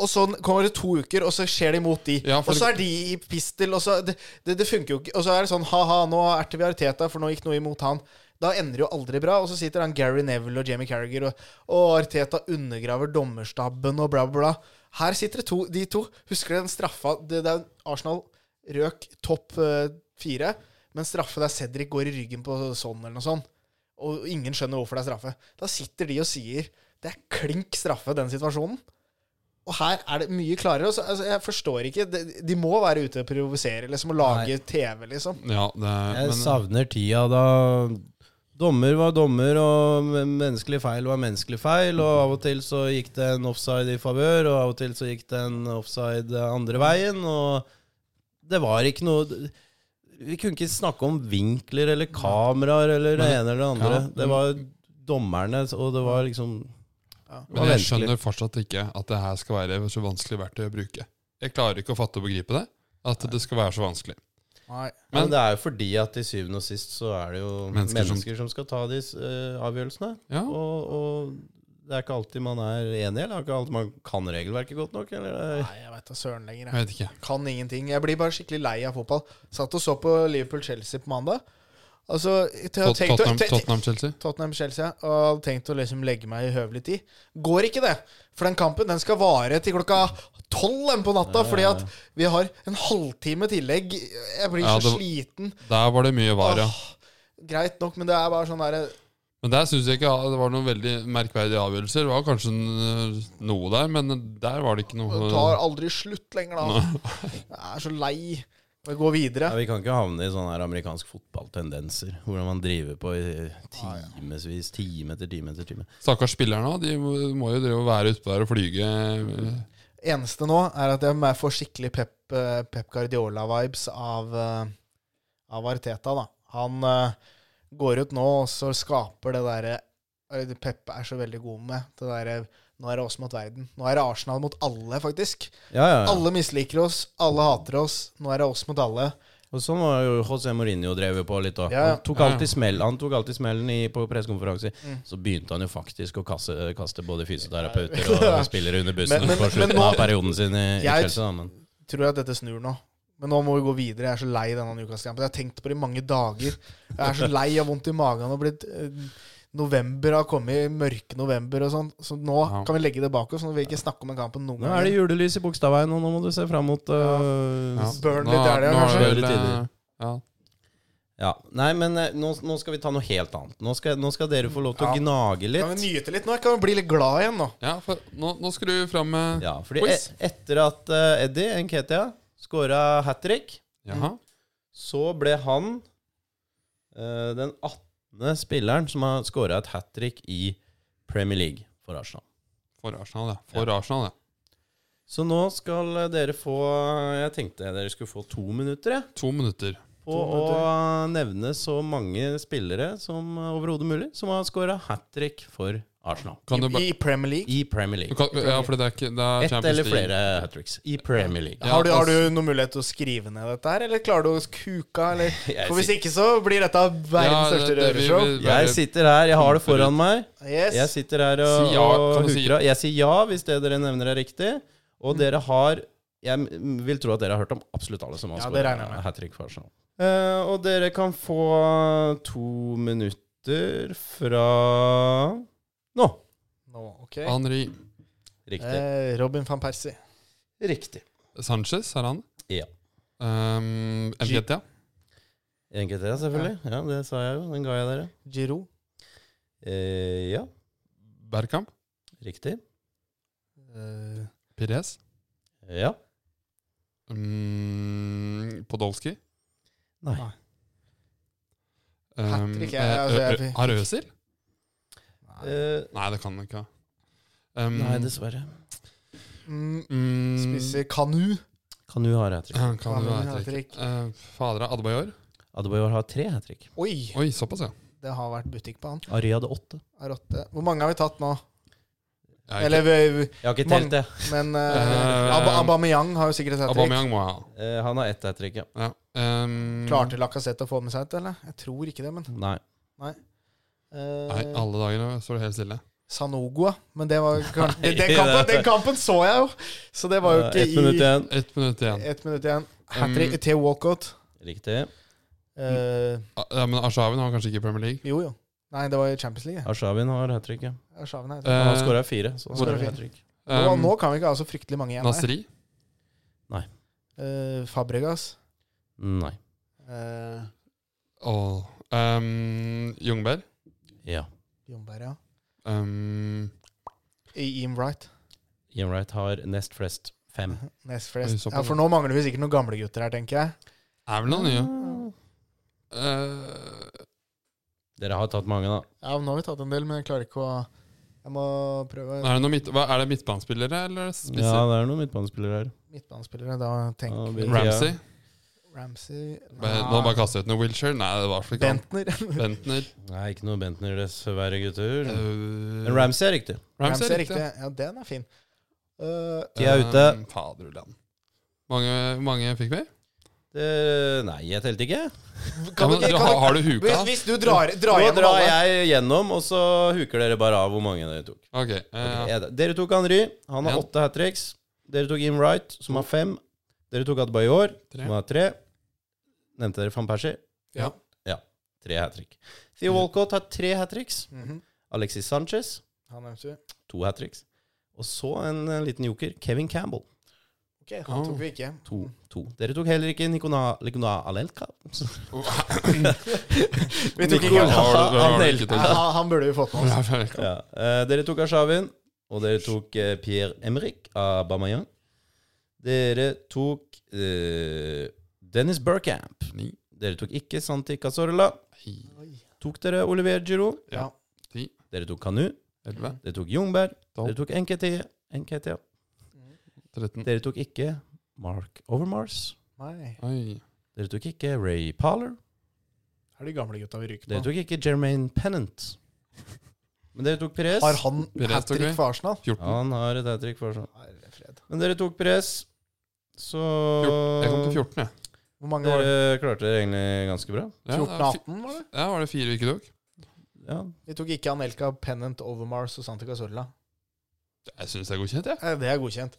S3: Og så kommer det to uker, og så skjer det imot de.
S2: Ja, for
S3: og så er de i pistel, og så Det, det, det funker jo ikke. Og så er det sånn ha-ha, nå erter vi Arteta, for nå gikk noe imot han. Da ender det jo aldri bra. Og så sitter han Gary Neville og Jamie Carragher, og, og Arteta undergraver dommerstaben og bla, bla, bla. Her sitter det to, de to. Husker du den straffa det, det er Arsenal røk topp eh, fire, men straffe der Cedric går i ryggen på sånn eller noe sånt, og ingen skjønner hvorfor det er straffe. Da sitter de og sier Det er klink straffe, den situasjonen. Og her er det mye klarere. og så- altså, jeg forstår ikke. De, de må være ute og provosere liksom, og lage TV, liksom.
S2: Ja, det er,
S1: Jeg
S2: men,
S1: savner tida da dommer var dommer, og menneskelig feil var menneskelig feil. Og av og til så gikk det en offside i favør, og av og til så gikk det en offside andre veien. Og det var ikke noe Vi kunne ikke snakke om vinkler eller kameraer eller det ene eller det andre.
S2: Ja.
S1: Det var dommerne, og det var liksom det var
S2: men jeg
S1: vanskelig.
S2: skjønner fortsatt ikke at det her skal være så vanskelig verktøy å bruke. Jeg klarer ikke å fatte og begripe det. At det skal være så vanskelig.
S3: Nei.
S1: Men, det er jo fordi at til syvende og sist så er det jo
S2: Mennesker
S1: mennesker,
S2: som-
S1: som skal ta de eh, avgjørelsene.
S2: Ja.
S1: Og, og det er ikke alltid man er enig, eller det er ikke alltid man kan regelverket godt nok. Eller,
S3: Nei, jeg veit da søren lenger. jeg.
S2: Jeg vet ikke.
S3: Kan ingenting. Jeg blir bare skikkelig lei av fotball. Satt og så på Liverpool-Chelsea på mandag. Altså, jeg har
S2: Tot-
S3: tenkt å-
S2: Tottenham-
S3: te- te-
S2: Tottenham-Chelsea.
S3: Tottenham-Chelsea. Og hadde tenkt å liksom legge meg i høvelig tid. Går ikke det. For den kampen den skal vare til klokka tolv den på natta. Fordi at vi har en halvtime tillegg. Jeg blir
S2: Ja,
S3: så
S2: det-
S3: sliten.
S2: Der var det mye var, ja.
S3: Åh, greit nok, men det er bare sånn derre
S2: Men der syns jeg ikke det var noen veldig merkverdige avgjørelser. Det var kanskje n- noe der, men der var det ikke noe
S3: Det tar aldri slutt lenger, da. Jeg er så lei. Vi går videre.
S1: ja, vi kan ikke havne i sånne her amerikansk fotballtendenser, hvordan man driver på i timevis, time etter time etter time.
S2: Stakkars spillerne, de må jo drive og være ute der og flyge.
S3: Eneste nå er at jeg må- får skikkelig Pep, eh, Pep Guardiola-vibes av, eh, av Arteta. da. Han eh, går ut nå og så skaper det derre eh, Pep er så veldig god med det derre Nå er det oss mot verden. Nå er det Arsenal mot alle, faktisk.
S1: Ja, ja, ja.
S3: Alle misliker oss, alle hater oss. Nå er det oss mot alle.
S1: Og sånn var jo José Mourinho drevet på litt òg.
S3: Ja, ja.
S1: Han tok
S2: Ja, ja.
S1: alltid smell- han tok alltid smellen i, på pressekonferanser. Så begynte han jo faktisk å kaste, kaste både fysioterapeuter og spillere under bussen
S3: Men- men-
S1: på
S3: men
S1: slutten
S3: nå-
S1: av perioden sin i, i
S3: Jeg-
S1: Chelsea. Da, men.
S3: Tror at dette snur nå. Men nå må vi gå videre. Jeg er så lei denne Newcastle-kampen. Jeg har tenkt på det i mange dager. Jeg er så lei av vondt i magen. Og blitt, eh, november har kommet, mørke november og sånn. Så nå
S2: Ja.
S3: kan vi legge det bak oss. Nå vil vi ikke snakke om den kampen noen
S1: Nå er det
S3: gang.
S1: julelys i Bogstadveien, og nå må du se fram mot øh,
S2: Ja.
S1: s-
S3: Burnley,
S2: Nå
S3: det er det,
S2: nå
S3: kanskje?
S2: vel,
S1: Dårlige tider.
S2: eh, Ja.
S1: ja. Nei, men eh, nå, nå skal vi ta noe helt annet. Nå skal, nå skal dere få lov til
S3: Ja.
S1: å gnage
S3: Kan vi
S1: litt.
S3: nyte litt nå? Kan vi bli litt glad igjen nå?
S2: ja, for nå, nå skal du fram med
S1: Ja, fordi e
S2: Quiz.
S1: etter at eh, Eddie Nketia skåra hat trick,
S2: Jaha.
S1: så ble han eh, den 18. spilleren som har skåra et hat trick i Premier League for Arsenal.
S2: For Arsenal, ja. For Arsenal, ja.
S1: Så nå skal eh, dere få eh, Jeg tenkte dere skulle få to minutter, jeg.
S2: To minutter.
S1: På å eh, nevne så mange spillere som eh, overhodet mulig som har skåra hat trick for Arsenal.
S2: Kan du
S3: I,
S2: bare
S3: I Premier League?
S1: I Premier
S2: du
S1: League.
S2: kan, Ja, for det er ikke det er
S1: Ett
S2: Champions
S1: eller
S2: League.
S1: flere hat tricks i Premier League.
S2: Ja. altså-
S3: har, du, har du noen mulighet til å skrive ned dette her, eller klarer du å kuka, eller
S1: Jeg
S3: For hvis ikke så blir dette verdens
S2: Ja,
S3: største
S2: det- det- vi-
S3: røreshow.
S2: vi-
S1: Jeg sitter her, jeg har det foran meg.
S3: Yes.
S1: Jeg sitter her og,
S2: Si ja, kan
S1: og
S2: du si-
S1: hukra. Jeg sier ja hvis det dere nevner er riktig. Og dere har Jeg m- vil tro at dere har hørt om absolutt alle som har
S3: Ja, det regner jeg med.
S1: skåret hat trick for Arsenal. Eh, og dere kan få to minutter fra nå.
S3: Nå, ok.
S2: Henri
S1: Riktig.
S3: Eh, Robin van Persie.
S1: Riktig.
S2: Sanchez, er han?
S1: Ja.
S2: Um, MGT, ja.
S1: Enkelt det, selvfølgelig. Ja, det sa jeg jo. Den ga jeg dere.
S3: Giroud.
S1: Eh, ja,
S2: Bergkamp.
S1: riktig.
S3: Eh,
S2: Pires.
S1: Ja.
S2: Mm, Podolsky.
S1: Nei.
S2: Um,
S3: Hattrick, jeg-
S2: eh,
S3: altså, jeg-
S2: Ø- Ø- Har Øsil?
S1: Eh,
S2: Nei, det kan han ikke. Um,
S1: nei, dessverre.
S3: mm,
S2: mm,
S3: Spiser Kanu.
S1: Kan du ha hat trick?
S2: Han kan jo
S3: Kan
S2: ha
S3: ha
S2: hattrick. Uh, Fader av Adebayor.
S1: Adebayor har tre hat trick.
S3: Oi,
S2: Oi, såpass, ja.
S3: det har vært butikk på han.
S1: Ari hadde åtte.
S3: Er åtte. Hvor mange har vi tatt nå?
S2: Jeg er
S3: Eller, vi- vi-
S1: Jeg har ikke telt
S3: Mange-
S1: det.
S3: men
S2: Eh,
S3: eh, Ab Aubameyang har jo sikkert et
S2: ikke-
S3: hat trick.
S2: Aubameyang må jeg ha.
S1: Eh, han har ett hat trick, ja.
S2: Ja. Um,
S3: Klarte Lacassette å få med seg et, eller? Jeg tror ikke det, men
S1: Nei.
S2: Nei,
S3: eh,
S2: alle dager nå står det helt stille.
S3: Sanogoa. Men det var kanskje, den, den, kampen, den kampen så jeg jo! Så det var jo
S1: Eh,
S3: ikke
S1: Ett minutt
S3: i
S1: igjen.
S2: Ett minutt igjen.
S3: Ett minutt igjen. Hat trick til walkout.
S1: Riktig.
S3: Eh,
S2: Ah, Ja, men Arshavin har kanskje ikke i Premier League.
S3: jo, jo. Nei, det var i Champions League. jeg.
S1: Arshavin har hat trick, ja.
S3: Jeg sa den her.
S1: Han har
S2: Eh,
S1: skåra fire. Så han
S3: hvor-
S1: skårer hat trick.
S3: Nå,
S2: um,
S3: nå kan vi ikke ha så fryktelig mange igjen. her.
S2: Nasri.
S3: Eh, Fabregas.
S1: Nei.
S3: Eh,
S2: Åh, Um, Jungberg.
S1: Ja.
S3: Jomberg, ja.
S2: Um,
S3: Ian Wright.
S1: Ian Wright har nest flest. Fem.
S3: Nest
S2: Oi,
S3: flest.
S2: såpass.
S3: Ja, for nå mangler vi sikkert noen gamle gutter her, tenker jeg.
S2: Er vel noen nye.
S3: Ah.
S2: Eh,
S1: Dere har tatt mange, da.
S3: Ja, men Nå har vi tatt en del, men jeg klarer ikke å Jeg må prøve
S2: er, det noen midt, hva, er det midtbanespillere eller er det
S1: Ja,
S2: spisser?
S1: det er noen midtbanespillere her.
S3: midtbanespillere. Da
S1: Ja,
S3: tenker
S1: vi-
S3: jeg
S2: Ramsey?
S3: Ramsey
S2: Bare- Nå bare kastet jeg ut noe Wilshere. Nei, det var slik han.
S3: Bentner.
S2: Bentner.
S1: Nei, ikke noe Bentner, dessverre, gutter.
S2: Eh,
S1: Men Ramsey er riktig.
S3: Ramsey er riktig. Ja, den er fin. Eh,
S1: De er ute.
S2: Eh, Faderullan. Mange, mange fikk vi?
S1: Det, nei, jeg telte ikke.
S2: Ja, men,
S3: vi
S2: du,
S3: ikke- kan
S2: har,
S3: vi-
S2: har du huka?
S3: hvis, hvis du drar, drar
S1: Nå
S3: gjennom
S1: drar
S3: alle
S1: jeg gjennom, og så huker dere bare av hvor mange dere tok.
S2: Ok. eh,
S1: Er det- Dere tok Henry, han har
S2: Ja.
S1: åtte hat tricks. Dere tok Im Wright, som har fem. Dere tok Adbayor,
S2: Tre.
S1: som har tre. Nevnte dere van Persie?
S2: Ja.
S1: Ja, Tre hat trick. Theo Walcott har tre hat tricks.
S3: Mhm.
S1: Alexis Sanchez,
S3: Han nevnte vi.
S1: to hat tricks. Og så en eh, liten joker, Kevin Campbell.
S3: Ok, han tok vi ikke.
S1: To. to. Dere tok heller ikke Nikona, Nikona Alelka.
S3: Vi tok ikke
S2: Nicolas.
S3: han.
S2: har du- har du ikke
S1: Anelka.
S2: tenkt?
S3: Han, han burde vi fått med oss.
S1: Ja. eh, dere tok Arshavin, og dere tok eh, Pierre Emerick av Bamayan. Dere tok eh, Dennis Burkamp.
S2: Ni.
S1: Dere tok ikke Santi Cazorla.
S2: Hi.
S1: Tok dere Olivier Giroud?
S2: Ja. Ti.
S1: Dere tok Kanu.
S2: Elleve.
S1: Dere tok Jungberg.
S2: Tolv.
S1: Dere tok NKT. NKT.
S2: 13.
S1: Dere tok ikke Mark Overmars.
S3: Nei.
S2: Oi.
S1: Dere tok ikke Ray Parler.
S3: Er de gamle gutta vi ryker
S1: Dere
S3: på?
S1: tok ikke Jermaine Pennant. Men dere tok Perez.
S3: Har han
S2: Perez tok
S3: hat trick
S2: vi.
S3: for Arsenal?
S2: 14.
S1: Ja, han har et hat trick for seg.
S3: Herre fred.
S1: Men dere tok Perez, så
S2: Jeg kom til 14, jeg.
S3: Hvor mange var det?
S1: Dere klarte det egentlig ganske bra.
S2: Ja,
S3: 14-18, var det?
S2: Ja, var det fire vi ikke tok?
S1: Ja.
S3: Vi tok ikke Anelka, Pennant, Overmars og Santi Cazorla.
S2: Jeg syns det er godkjent, jeg.
S3: Eh, Det er godkjent.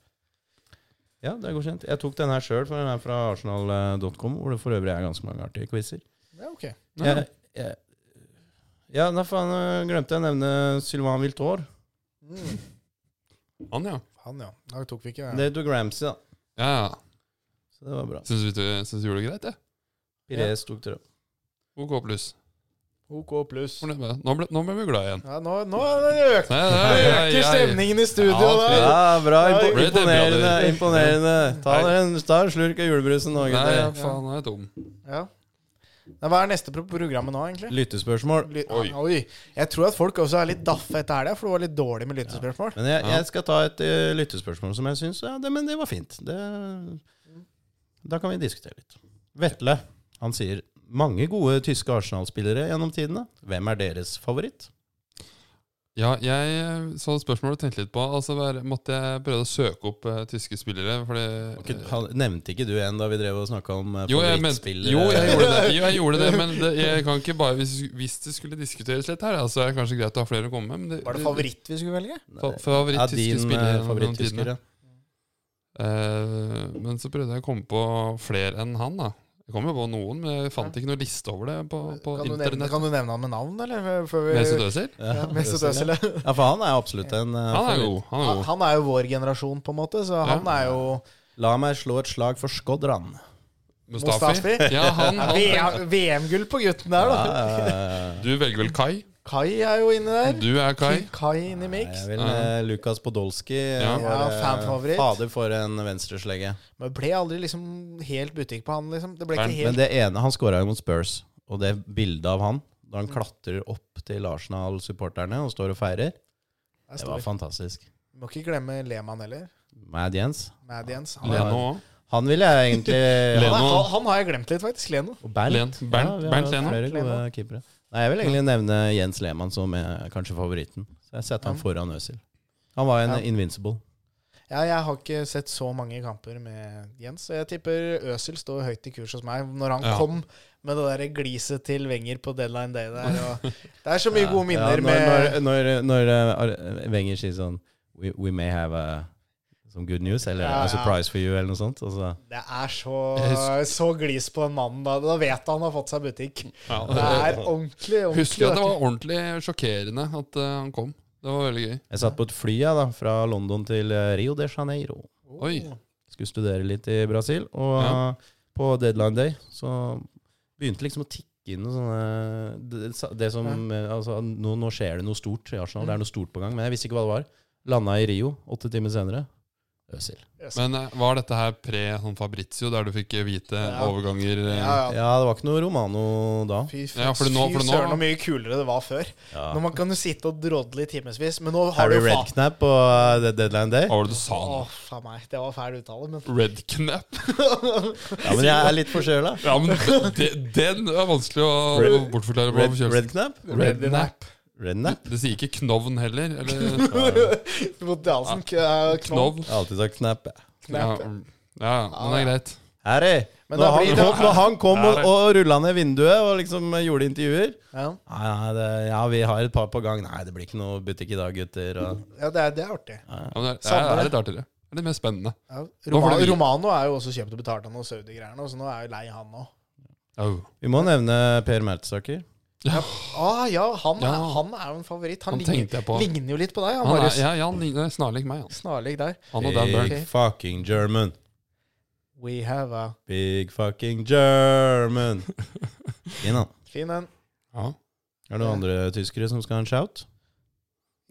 S1: ja, det er godkjent. Jeg tok den her sjøl, for den er fra arsenal.com, hvor det for øvrig er ganske mange artige quizer.
S3: Ja, ok.
S2: Ja.
S1: Jeg- jeg- Ja, da faen jeg glemte jeg å nevne Sylvain Viltor.
S3: Mm.
S2: Han, ja.
S3: Han, ja. Da tok vi ikke
S1: Det tok Ramsey, da.
S2: Ja, ja.
S1: Så det var bra.
S2: Syns vi, syns vi gjorde det greit, jeg.
S1: Pires tok tre.
S2: OK pluss.
S3: OK pluss.
S2: Fornøyd med det. Nå ble, nå ble vi glad igjen.
S3: Ja, nå, nå øker,
S2: Nei, nei, nei,
S3: øker
S2: nei.
S3: stemningen i studio.
S2: Ja,
S3: da.
S1: Ja, bra.
S2: Red
S3: Impo-
S2: Dead imponerende,
S1: imponerende.
S2: Brother.
S1: imponerende. Ta
S2: dere
S1: en, slurk av julebrusen nå,
S2: Nei, ja,
S1: gutter.
S2: faen, nå er jeg tom.
S3: Ja. Nei, Hva er neste pro- programmet nå, egentlig?
S1: Lyttespørsmål.
S3: Ly-
S2: Oi.
S3: Oi. Jeg tror at folk også er litt daffe etter helga, for det var litt dårlig med lyttespørsmål.
S1: Men jeg,
S2: Ja.
S1: jeg skal ta et eh, lyttespørsmål som jeg syns ja, det, men det var fint. Det, da kan vi diskutere litt. Vetle han sier mange gode tyske Arsenal-spillere gjennom tidene. Hvem er deres favoritt?
S2: Ja, jeg eh, så spørsmålet og tenkte litt på Altså, hver- måtte jeg prøve å søke opp eh, tyske spillere, fordi
S1: Ok, han- Nevnte ikke du en da vi drev og snakka om eh,
S2: jo jeg, mente,
S1: favorittspillere?
S2: jo, jeg gjorde det, jo, jeg gjorde det men det, jeg kan ikke bare hvis, hvis det skulle diskuteres litt her, altså, er det kanskje greit å ha flere å komme med. Men det,
S3: Var det favoritt vi skulle velge?
S2: Fa favoritt
S1: Ja,
S2: tyske
S1: din
S2: spiller
S1: eh,
S2: gjennom tidene.
S1: favoritttysker, ja.
S2: Eh, men så prøvde jeg å komme på flere enn han, da. Jeg kom jo på noen, men jeg fant ikke noe liste over det på, på
S3: Kan du, nevne,
S2: internett.
S3: kan du nevne han med navn, eller? Før vi,
S2: Mesut Özil?
S3: Ja, Mesut Özil, ja.
S1: Ja, for han er absolutt en eh,
S2: Han er
S1: favoritt.
S2: god. Han er
S3: Han
S2: god.
S3: han er jo vår generasjon, på en måte, så han er jo
S1: La meg slå et slag for Skodran.
S2: Mustafi?
S3: Mustafi?
S2: Ja, han, han.
S3: V- VM-gull på gutten der,
S1: Ja,
S3: da.
S1: eh,
S2: Du velger vel Kai?
S3: Kai er jo inne der.
S2: Du er Kai.
S3: Kai inne
S1: jeg
S3: i mix.
S1: vil eh, Lukas Podolski. eh,
S2: Ja.
S1: var, eh,
S3: Ja, fanfavoritt.
S1: Fader, for en venstreslege.
S3: Men ble aldri liksom helt butikk på han, liksom. Det ble ikke
S1: Men
S3: helt
S1: det ene, han skåra jo mot Spurs, og det bildet av han da han klatrer opp til Arsenal-supporterne og står og feirer,
S3: Jeg
S1: det
S3: står-
S1: var fantastisk.
S3: Må ikke glemme Lehmann heller.
S1: Mad Jens.
S3: Mad Jens. Han,
S2: Leno òg.
S1: Han ville jeg egentlig
S2: Leno.
S3: han, er- han har jeg glemt litt, faktisk. Leno.
S1: Og Bernt.
S2: Len- Bernt-
S1: Ja, vi har
S2: Bernt Leno.
S1: Flere gode
S3: Leno.
S1: keepere. Nei, jeg vil egentlig nevne Jens Lehmann som er kanskje favoritten. Så jeg setter han
S3: Ja.
S1: foran Øsil. Han var en
S3: Ja.
S1: invincible.
S3: Ja, jeg har ikke sett så mange kamper med Jens, så jeg tipper Øsil står høyt i kurs hos meg. Når han
S2: Ja.
S3: kom med det der gliset til Wenger på deadline day der. Og det er så mye gode minner
S1: Ja, når,
S3: med
S1: når, når, når eh, Wenger sier sånn we, we may have a, some good news, eller a
S3: Ja, ja.
S1: surprise for you, eller noe sånt. Og så
S3: Det er så,
S2: Jeg husker-
S3: så glis på den mannen da. Da vet han han har fått seg butikk.
S2: Ja,
S3: Det er ordentlig,
S2: jeg Husker
S3: ordentlig.
S2: at det
S3: vet
S2: var ordentlig sjokkerende at eh, han kom. Det var veldig gøy.
S1: Jeg satt på et fly jeg, da, fra London til eh, Rio de Janeiro.
S3: du.
S2: Oi.
S1: Skulle studere litt i Brasil. Og
S2: Ja.
S1: eh, på deadline day så begynte liksom å tikke inn noe sånne
S3: Mm.
S1: det, det som eh, altså, nå, nå skjer det noe stort i Arsenal. Det er noe stort på gang. Men jeg visste ikke hva det var. Landa i Rio åtte timer senere. Øsil.
S2: Men eh, var dette her pre sånn Fabrizio, der du fikk vite
S3: Ja.
S2: overganger eh?
S3: Ja, ja.
S1: Ja, det var ikke noe Romano da.
S3: Fy, fy,
S2: Ja, for nå- for
S3: fy
S2: nå-
S3: søren, så mye kulere det var før.
S1: Ja.
S3: Nå man kan jo sitte og drodle i timevis, men nå har
S1: Harry
S3: du faen
S1: Redknapp på eh, Dead- Deadline Day.
S2: Hva var det du sa nå?
S3: Å, faen meg. Det var fæl uttale, men
S2: Redknapp?
S1: Ja, men jeg er litt forkjøla.
S2: Ja, men de, den er vanskelig å å bortforklare. på
S1: Red,
S2: forkjølelsen.
S1: Redknapp?
S2: Redknapp.
S1: Redknapp?
S2: Det sier ikke knovn heller. Eller
S3: Mot Dahlsen ja.
S2: knov.
S1: Jeg har alltid sagt knapp. jeg.
S2: Ja, mm.
S3: Knapp.
S2: ja, men det er greit.
S1: Harry! Når
S3: Men da
S1: han,
S3: blir det-
S1: kom, når han kom og,
S2: Harry.
S1: og rulla ned vinduet og liksom gjorde intervjuer
S3: Ja.
S1: Nei, nei det, ja, vi har et par på gang. Nei, det blir ikke noe butikk i dag, gutter. Og,
S3: ja, det er, det er artig.
S2: Ja, men det, er,
S3: Samme
S2: det
S3: det.
S2: er litt artigere. Det er litt mer spennende.
S3: Ja.
S2: Nå får
S3: Romano,
S2: du-
S3: Romano er jo også kjøpt og betalt av noen Saudi-greier nå, så nå er jeg jo lei han nå.
S2: Au.
S1: vi må nevne Per Mertsaker.
S3: Ah, ja, han,
S2: Ja.
S3: Er, han er jo en favoritt. Han,
S2: Han
S3: ligner,
S2: tenkte jeg på.
S3: ligner jo litt på deg. Han,
S2: Han
S3: bare
S2: er, ja, Jan ligner snarlig meg. Han,
S3: snarlig der.
S2: han og Dan Burn.
S1: Big fucking German.
S3: We have a
S1: Big fucking German. Fin, han.
S3: fin en.
S2: Ja.
S1: Er det noen andre tyskere som skal ha en shout?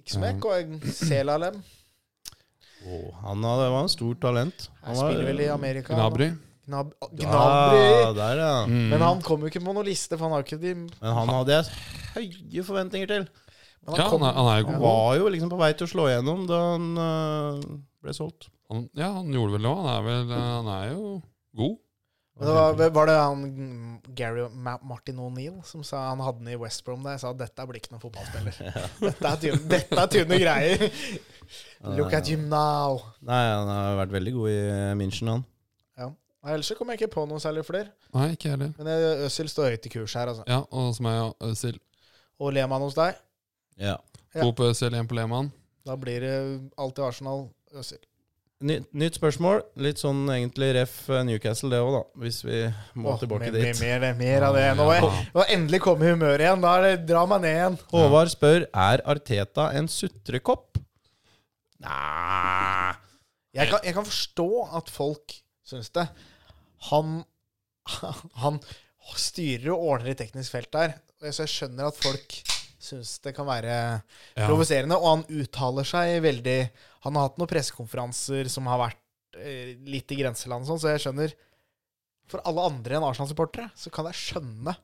S3: Ikke smekk og en selalem.
S1: Å, han hadde, var en stort talent.
S3: Han spiller vel i Amerika.
S2: Gnabry.
S3: Gnab Gnabry.
S1: Ja, der, ja.
S2: Mm.
S3: Men han kom jo ikke på noen liste, for han har jo ikke de Men
S1: Men han hadde jeg høye forventninger til.
S3: han
S2: Ja,
S3: kom,
S2: han er, han er jo
S1: Han
S2: god.
S1: var jo liksom på vei til å slå igjennom da han øh, ble solgt.
S2: Han, ja, han gjorde vel det òg. Han, er vel, eh, han er jo god.
S3: Men det var, var det han mm, Gary Ma Martin O'Neill som sa han hadde den i West Brom der? Sa dette blir ikke noen fotballspiller. Dette er tynne, dette er tynne greier. Look at him now.
S1: Nei, han har vært veldig god i eh, München, han.
S3: Nei, ellers så kom jeg ikke på noen særlig flere.
S2: Nei, ikke jeg heller.
S3: Men eh, Øzil står høyt i kurs her, altså.
S2: Ja, og som eh, er Øzil.
S3: Og Lehmann hos deg,
S1: Ja.
S3: Ja.
S2: To på Øzil, én på Lehmann.
S3: da blir det alltid Arsenal. Øzil.
S1: Ny, nytt spørsmål. Litt sånn egentlig ref eh, Newcastle, det òg, da. Hvis vi må
S3: Åh,
S1: tilbake
S3: mer,
S1: dit.
S3: Mer, mer, mer av det. Nå må jeg, nå må jeg endelig komme i humøret igjen. Da er det dra meg ned igjen.
S1: Håvard spør er Arteta en sutrekopp. Nei
S3: Jeg kan, jeg kan forstå at folk syns det. Han, han styrer og ordner i teknisk felt der, og jeg- så jeg skjønner at folk syns det kan være
S2: Ja.
S3: provoserende. Og han uttaler seg veldig Han har hatt noen pressekonferanser som har vært eh, litt i grenseland, og sånn, så jeg skjønner For alle andre enn Arsenal-supportere så kan jeg skjønne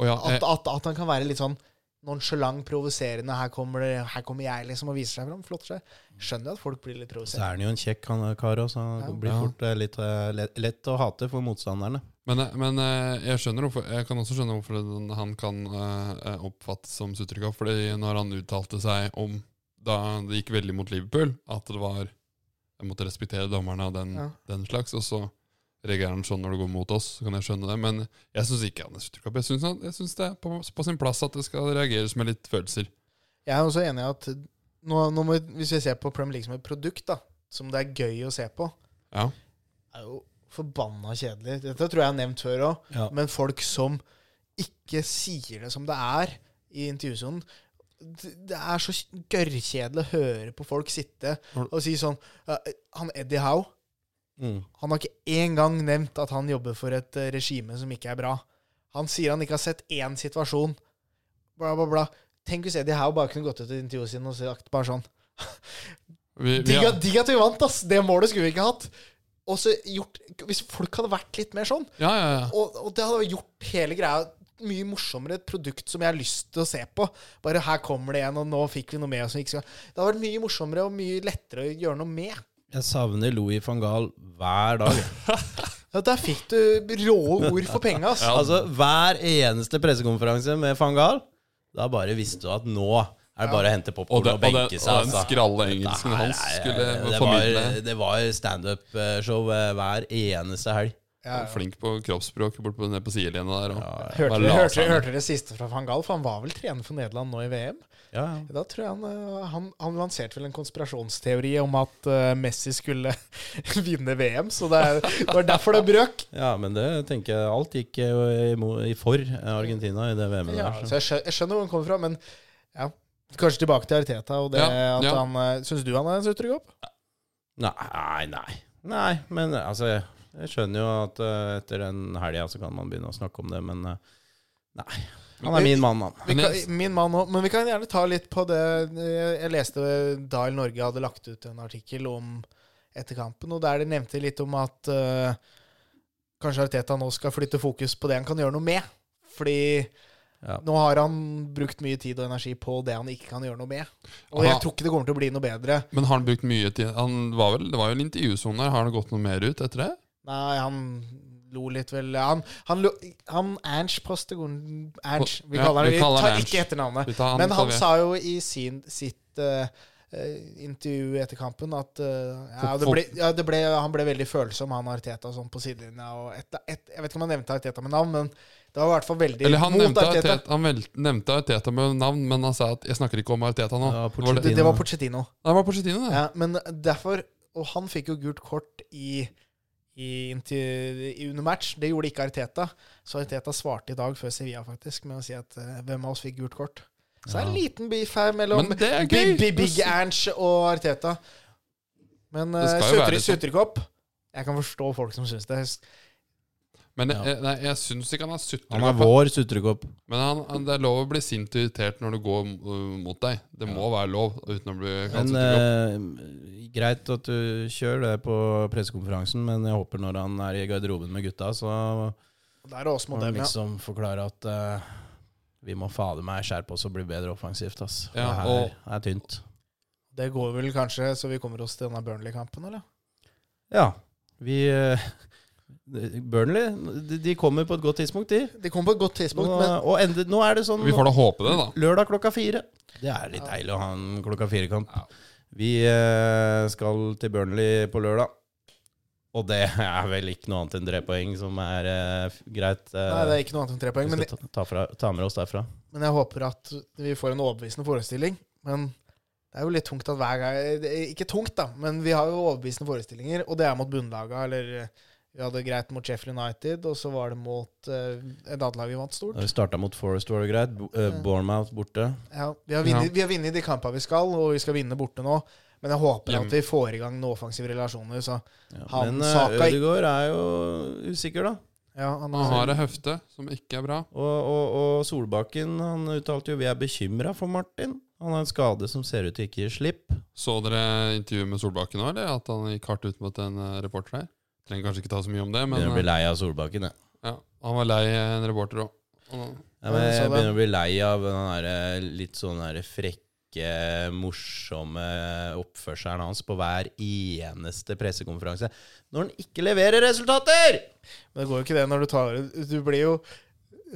S2: Og ja,
S3: at,
S2: eh,
S3: at, at han kan være litt sånn nonchalant, provoserende. Her kommer, det, 'Her kommer jeg', liksom, og viser seg fram. Flotter seg. Skjønner at folk blir litt
S1: Så
S3: provosert.
S1: er han jo en kjekk han, eh, kar òg, så
S3: Ja.
S1: han blir
S2: Ja.
S1: fort eh, litt eh, lett, lett å hate for motstanderne.
S2: men, eh, men eh, jeg skjønner hvorfor Jeg kan også skjønne hvorfor den- han kan eh, eh, oppfattes som sutrekopp. Fordi når han uttalte seg om da det gikk veldig mot Liverpool, at det var Jeg måtte respektere dommerne og den,
S3: Ja.
S2: den slags. Og så reagerer han sånn når det går mot oss, så kan jeg skjønne det. Men jeg syns ikke han er sutrekopp. Jeg syns han- jeg syns det er på, på sin plass at det skal reageres med litt følelser.
S3: Jeg er også enig i at nå, nå må, vi- hvis vi ser på Premier League som et produkt, da, som det er gøy å se på,
S2: Ja.
S3: er jo forbanna kjedelig. Dette tror jeg jeg har nevnt før òg,
S1: Ja.
S3: men folk som ikke sier det som det er i intervjusonen det det er så gørrkjedelig å høre på folk sitte og si sånn «Ja, Han Eddie Howe
S1: Mm.
S3: han har ikke engang nevnt at han jobber for et eh, regime som ikke er bra. Han sier han ikke har sett én situasjon. Bla, bla, bla. Tenk hvis Eddie Howe bare kunne gått ut i intervjuet sin og sagt bare sånn
S2: Vi, vi,
S3: Digg at digg at vi vant, ass! Det målet skulle vi ikke hatt. Og så gjort, Hvis folk hadde vært litt mer sånn,
S2: ja, ja, ja.
S3: og, og det hadde gjort hele greia mye morsommere. Et produkt som jeg har lyst til å se på. Bare her kommer det igjen, og nå fikk vi noe med oss som vi ikke skal Det hadde vært mye morsommere og mye lettere å gjøre noe med.
S1: Jeg savner Louis van Gaal hver dag.
S3: Ja, der fikk du rå ord for penga, ass.
S1: Altså, hver eneste pressekonferanse med van Gaal, da bare visste du at nå er det bare å hente
S2: Og,
S1: popkorn
S2: det,
S1: og,
S2: og, det, og
S1: benke seg.
S2: den
S1: Altså.
S2: skralle engelsken
S1: Nei,
S2: hans
S1: nei,
S2: skulle
S1: det
S2: formidle
S1: var, det var standup-show eh, hver eneste helg.
S3: Ja, ja.
S2: Flink på kroppsspråk bort på, ned på sidelinja der. Og,
S3: Hørte
S2: Bare
S3: dere,
S2: la
S3: hørte,
S2: seg
S3: dere-
S2: ned.
S3: hørte dere siste fra van Gaal? For han var vel trener for Nederland nå i VM?
S1: Ja,
S3: Da tror jeg han, eh, han, han lanserte vel en konspirasjonsteori om at eh, Messi skulle vinne VM, så det er- det var derfor det brøk.
S1: men det tenker jeg Alt gikk jo i mo- i for Argentina i det VM-et
S3: Ja,
S1: der.
S3: så
S1: Så.
S3: jeg skjønner, jeg skjønner hvor han kommer fra, men ja. Kanskje tilbake til Arteta og det
S2: Ja,
S3: at
S2: ja.
S3: han eh, Syns du han er en sutrekopp?
S1: Nei, nei. Nei, men altså Jeg, jeg skjønner jo at eh, etter den helga så kan man begynne å snakke om det, men eh, nei. Han er min mann, han.
S3: Vi
S2: Men
S3: kan,
S2: jeg-
S3: min mann òg. Men vi kan gjerne ta litt på det Jeg leste Dial Norge hadde lagt ut en artikkel om etter kampen, og der de nevnte litt om at eh, kanskje Arteta nå skal flytte fokus på det han kan gjøre noe med. Fordi
S1: Ja.
S3: nå har han brukt mye tid og energi på det han ikke kan gjøre noe med. Og
S2: Aha.
S3: jeg tror ikke det kommer til å bli noe bedre.
S2: Men har han brukt mye tid han var vel, Det var jo en intervjusone her. Har han gått noe mer ut etter det?
S3: Nei, han lo litt vel Han, han, lo, han Ernst Postegon Ernst, vi
S2: Ja,
S3: kaller han
S2: vi
S3: Vi
S2: kaller han
S3: tar
S2: Ernst.
S3: ikke etternavnet.
S2: Vi tar han,
S3: Men
S2: tar
S3: han
S2: vi.
S3: sa jo i sin, sitt eh, eh, intervju etter kampen at eh, ja,
S2: For-
S3: det ble, ja, det ble, han ble veldig følsom, han Arteta, sånn på sidelinja. Og et, et, jeg vet ikke om han nevnte Arteta med navn, men det var i hvert fall veldig
S2: Eller han
S3: mot
S2: nevnte
S3: Arteta.
S2: Arteta, han vel, nevnte Arteta med navn, men han sa at 'jeg snakker ikke om Arteta nå'.
S1: Ja,
S2: Det
S1: Pochettino.
S2: var det,
S3: Det, det var Pochettino.
S2: det var Pochettino, det.
S3: Ja, men derfor Og han fikk jo gult kort i, i, inntil- i under match. Det gjorde ikke Arteta. Så Arteta svarte i dag før Sevilla faktisk med å si at eh, hvem av oss fikk gult kort. Så det er en liten beef her mellom
S2: Men det er
S3: Big,
S2: gøy.
S3: Big, Big Ernst og Arteta. Men
S2: Det skal jo være
S3: uh,
S2: litt sånn.
S3: sutrekopp Jeg kan forstå folk som syns det.
S2: Men
S1: Ja.
S2: jeg, jeg- nei, jeg syns ikke han er sutrekopp.
S1: Han er vår sutrekopp.
S2: Men han, han, det er lov å bli sint og irritert når det går uh, mot deg. Det må være lov uten å bli kalt
S1: Men øh,
S2: sutrekopp.
S1: eh, greit at du kjører det på pressekonferansen, men jeg håper når han er i garderoben med gutta, så
S3: Og Der er også
S1: må han
S3: modellen, ja.
S1: liksom forklare at eh, vi må fader meg skjerpe oss og bli bedre offensivt, ass. For
S2: Ja,
S1: det
S2: og-
S1: her er tynt.
S3: Det går vel kanskje så vi kommer oss til denne Burnley-kampen, eller?
S1: Ja. Vi eh, Burnley, de, de kommer på et godt tidspunkt, de.
S3: Det kommer på et godt
S1: Nå,
S3: tidspunkt, men
S1: og ende, nå er det sånn
S2: Vi får da håpe det, da.
S1: lørdag klokka fire. Det er litt deilig å ha en klokka fire-kamp. Vi eh, skal til Burnley på lørdag. Og det er vel ikke noe annet enn tre poeng som er eh, f- greit. eh,
S3: Nei, det er ikke noe annet enn tre poeng. Men
S1: vi skal ta, ta, fra, ta med oss derfra.
S3: Men jeg håper at vi får en overbevisende forestilling. Men det er jo litt tungt at hver gang det er Ikke tungt, da, men vi har jo overbevisende forestillinger, og det er mot bunnlaga, eller eh, vi hadde greit mot Sheffield United, og så var det mot eh, et annet lag vi vant stort.
S1: Da vi starta mot Forest, var det greit. Bo- eh, Bournemouth borte.
S3: Ja, vi har vunnet- vi har vunnet de kampene vi skal, og vi skal vinne borte nå. Men jeg håper at vi får i gang noen offensive relasjoner. Så
S1: Ja,
S3: Han
S1: men eh,
S3: Saka-
S1: Ødegaard er jo usikker, da.
S3: ja, han
S2: Han har ei høfte som ikke er bra.
S1: Og, og, og Solbakken han uttalte jo vi er bekymra for Martin. Han har en skade som ser ut til ikke å gi slipp.
S2: Så dere intervjuet med Solbakken nå, eller? At han gikk hardt ut mot en eh, reporter der? Trenger kanskje ikke ta så mye om det, men
S1: Begynner å bli lei av Solbakken, jeg.
S2: eh, ja, han var lei eh, en reporter òg.
S1: Ja, men
S3: Ja, jeg så
S1: jeg
S3: det.
S1: begynner å bli lei av den der, litt sånn der frekke, morsomme oppførselen hans på hver eneste pressekonferanse. Når han ikke leverer resultater!
S3: Men det går jo ikke det når du tar ut Du blir jo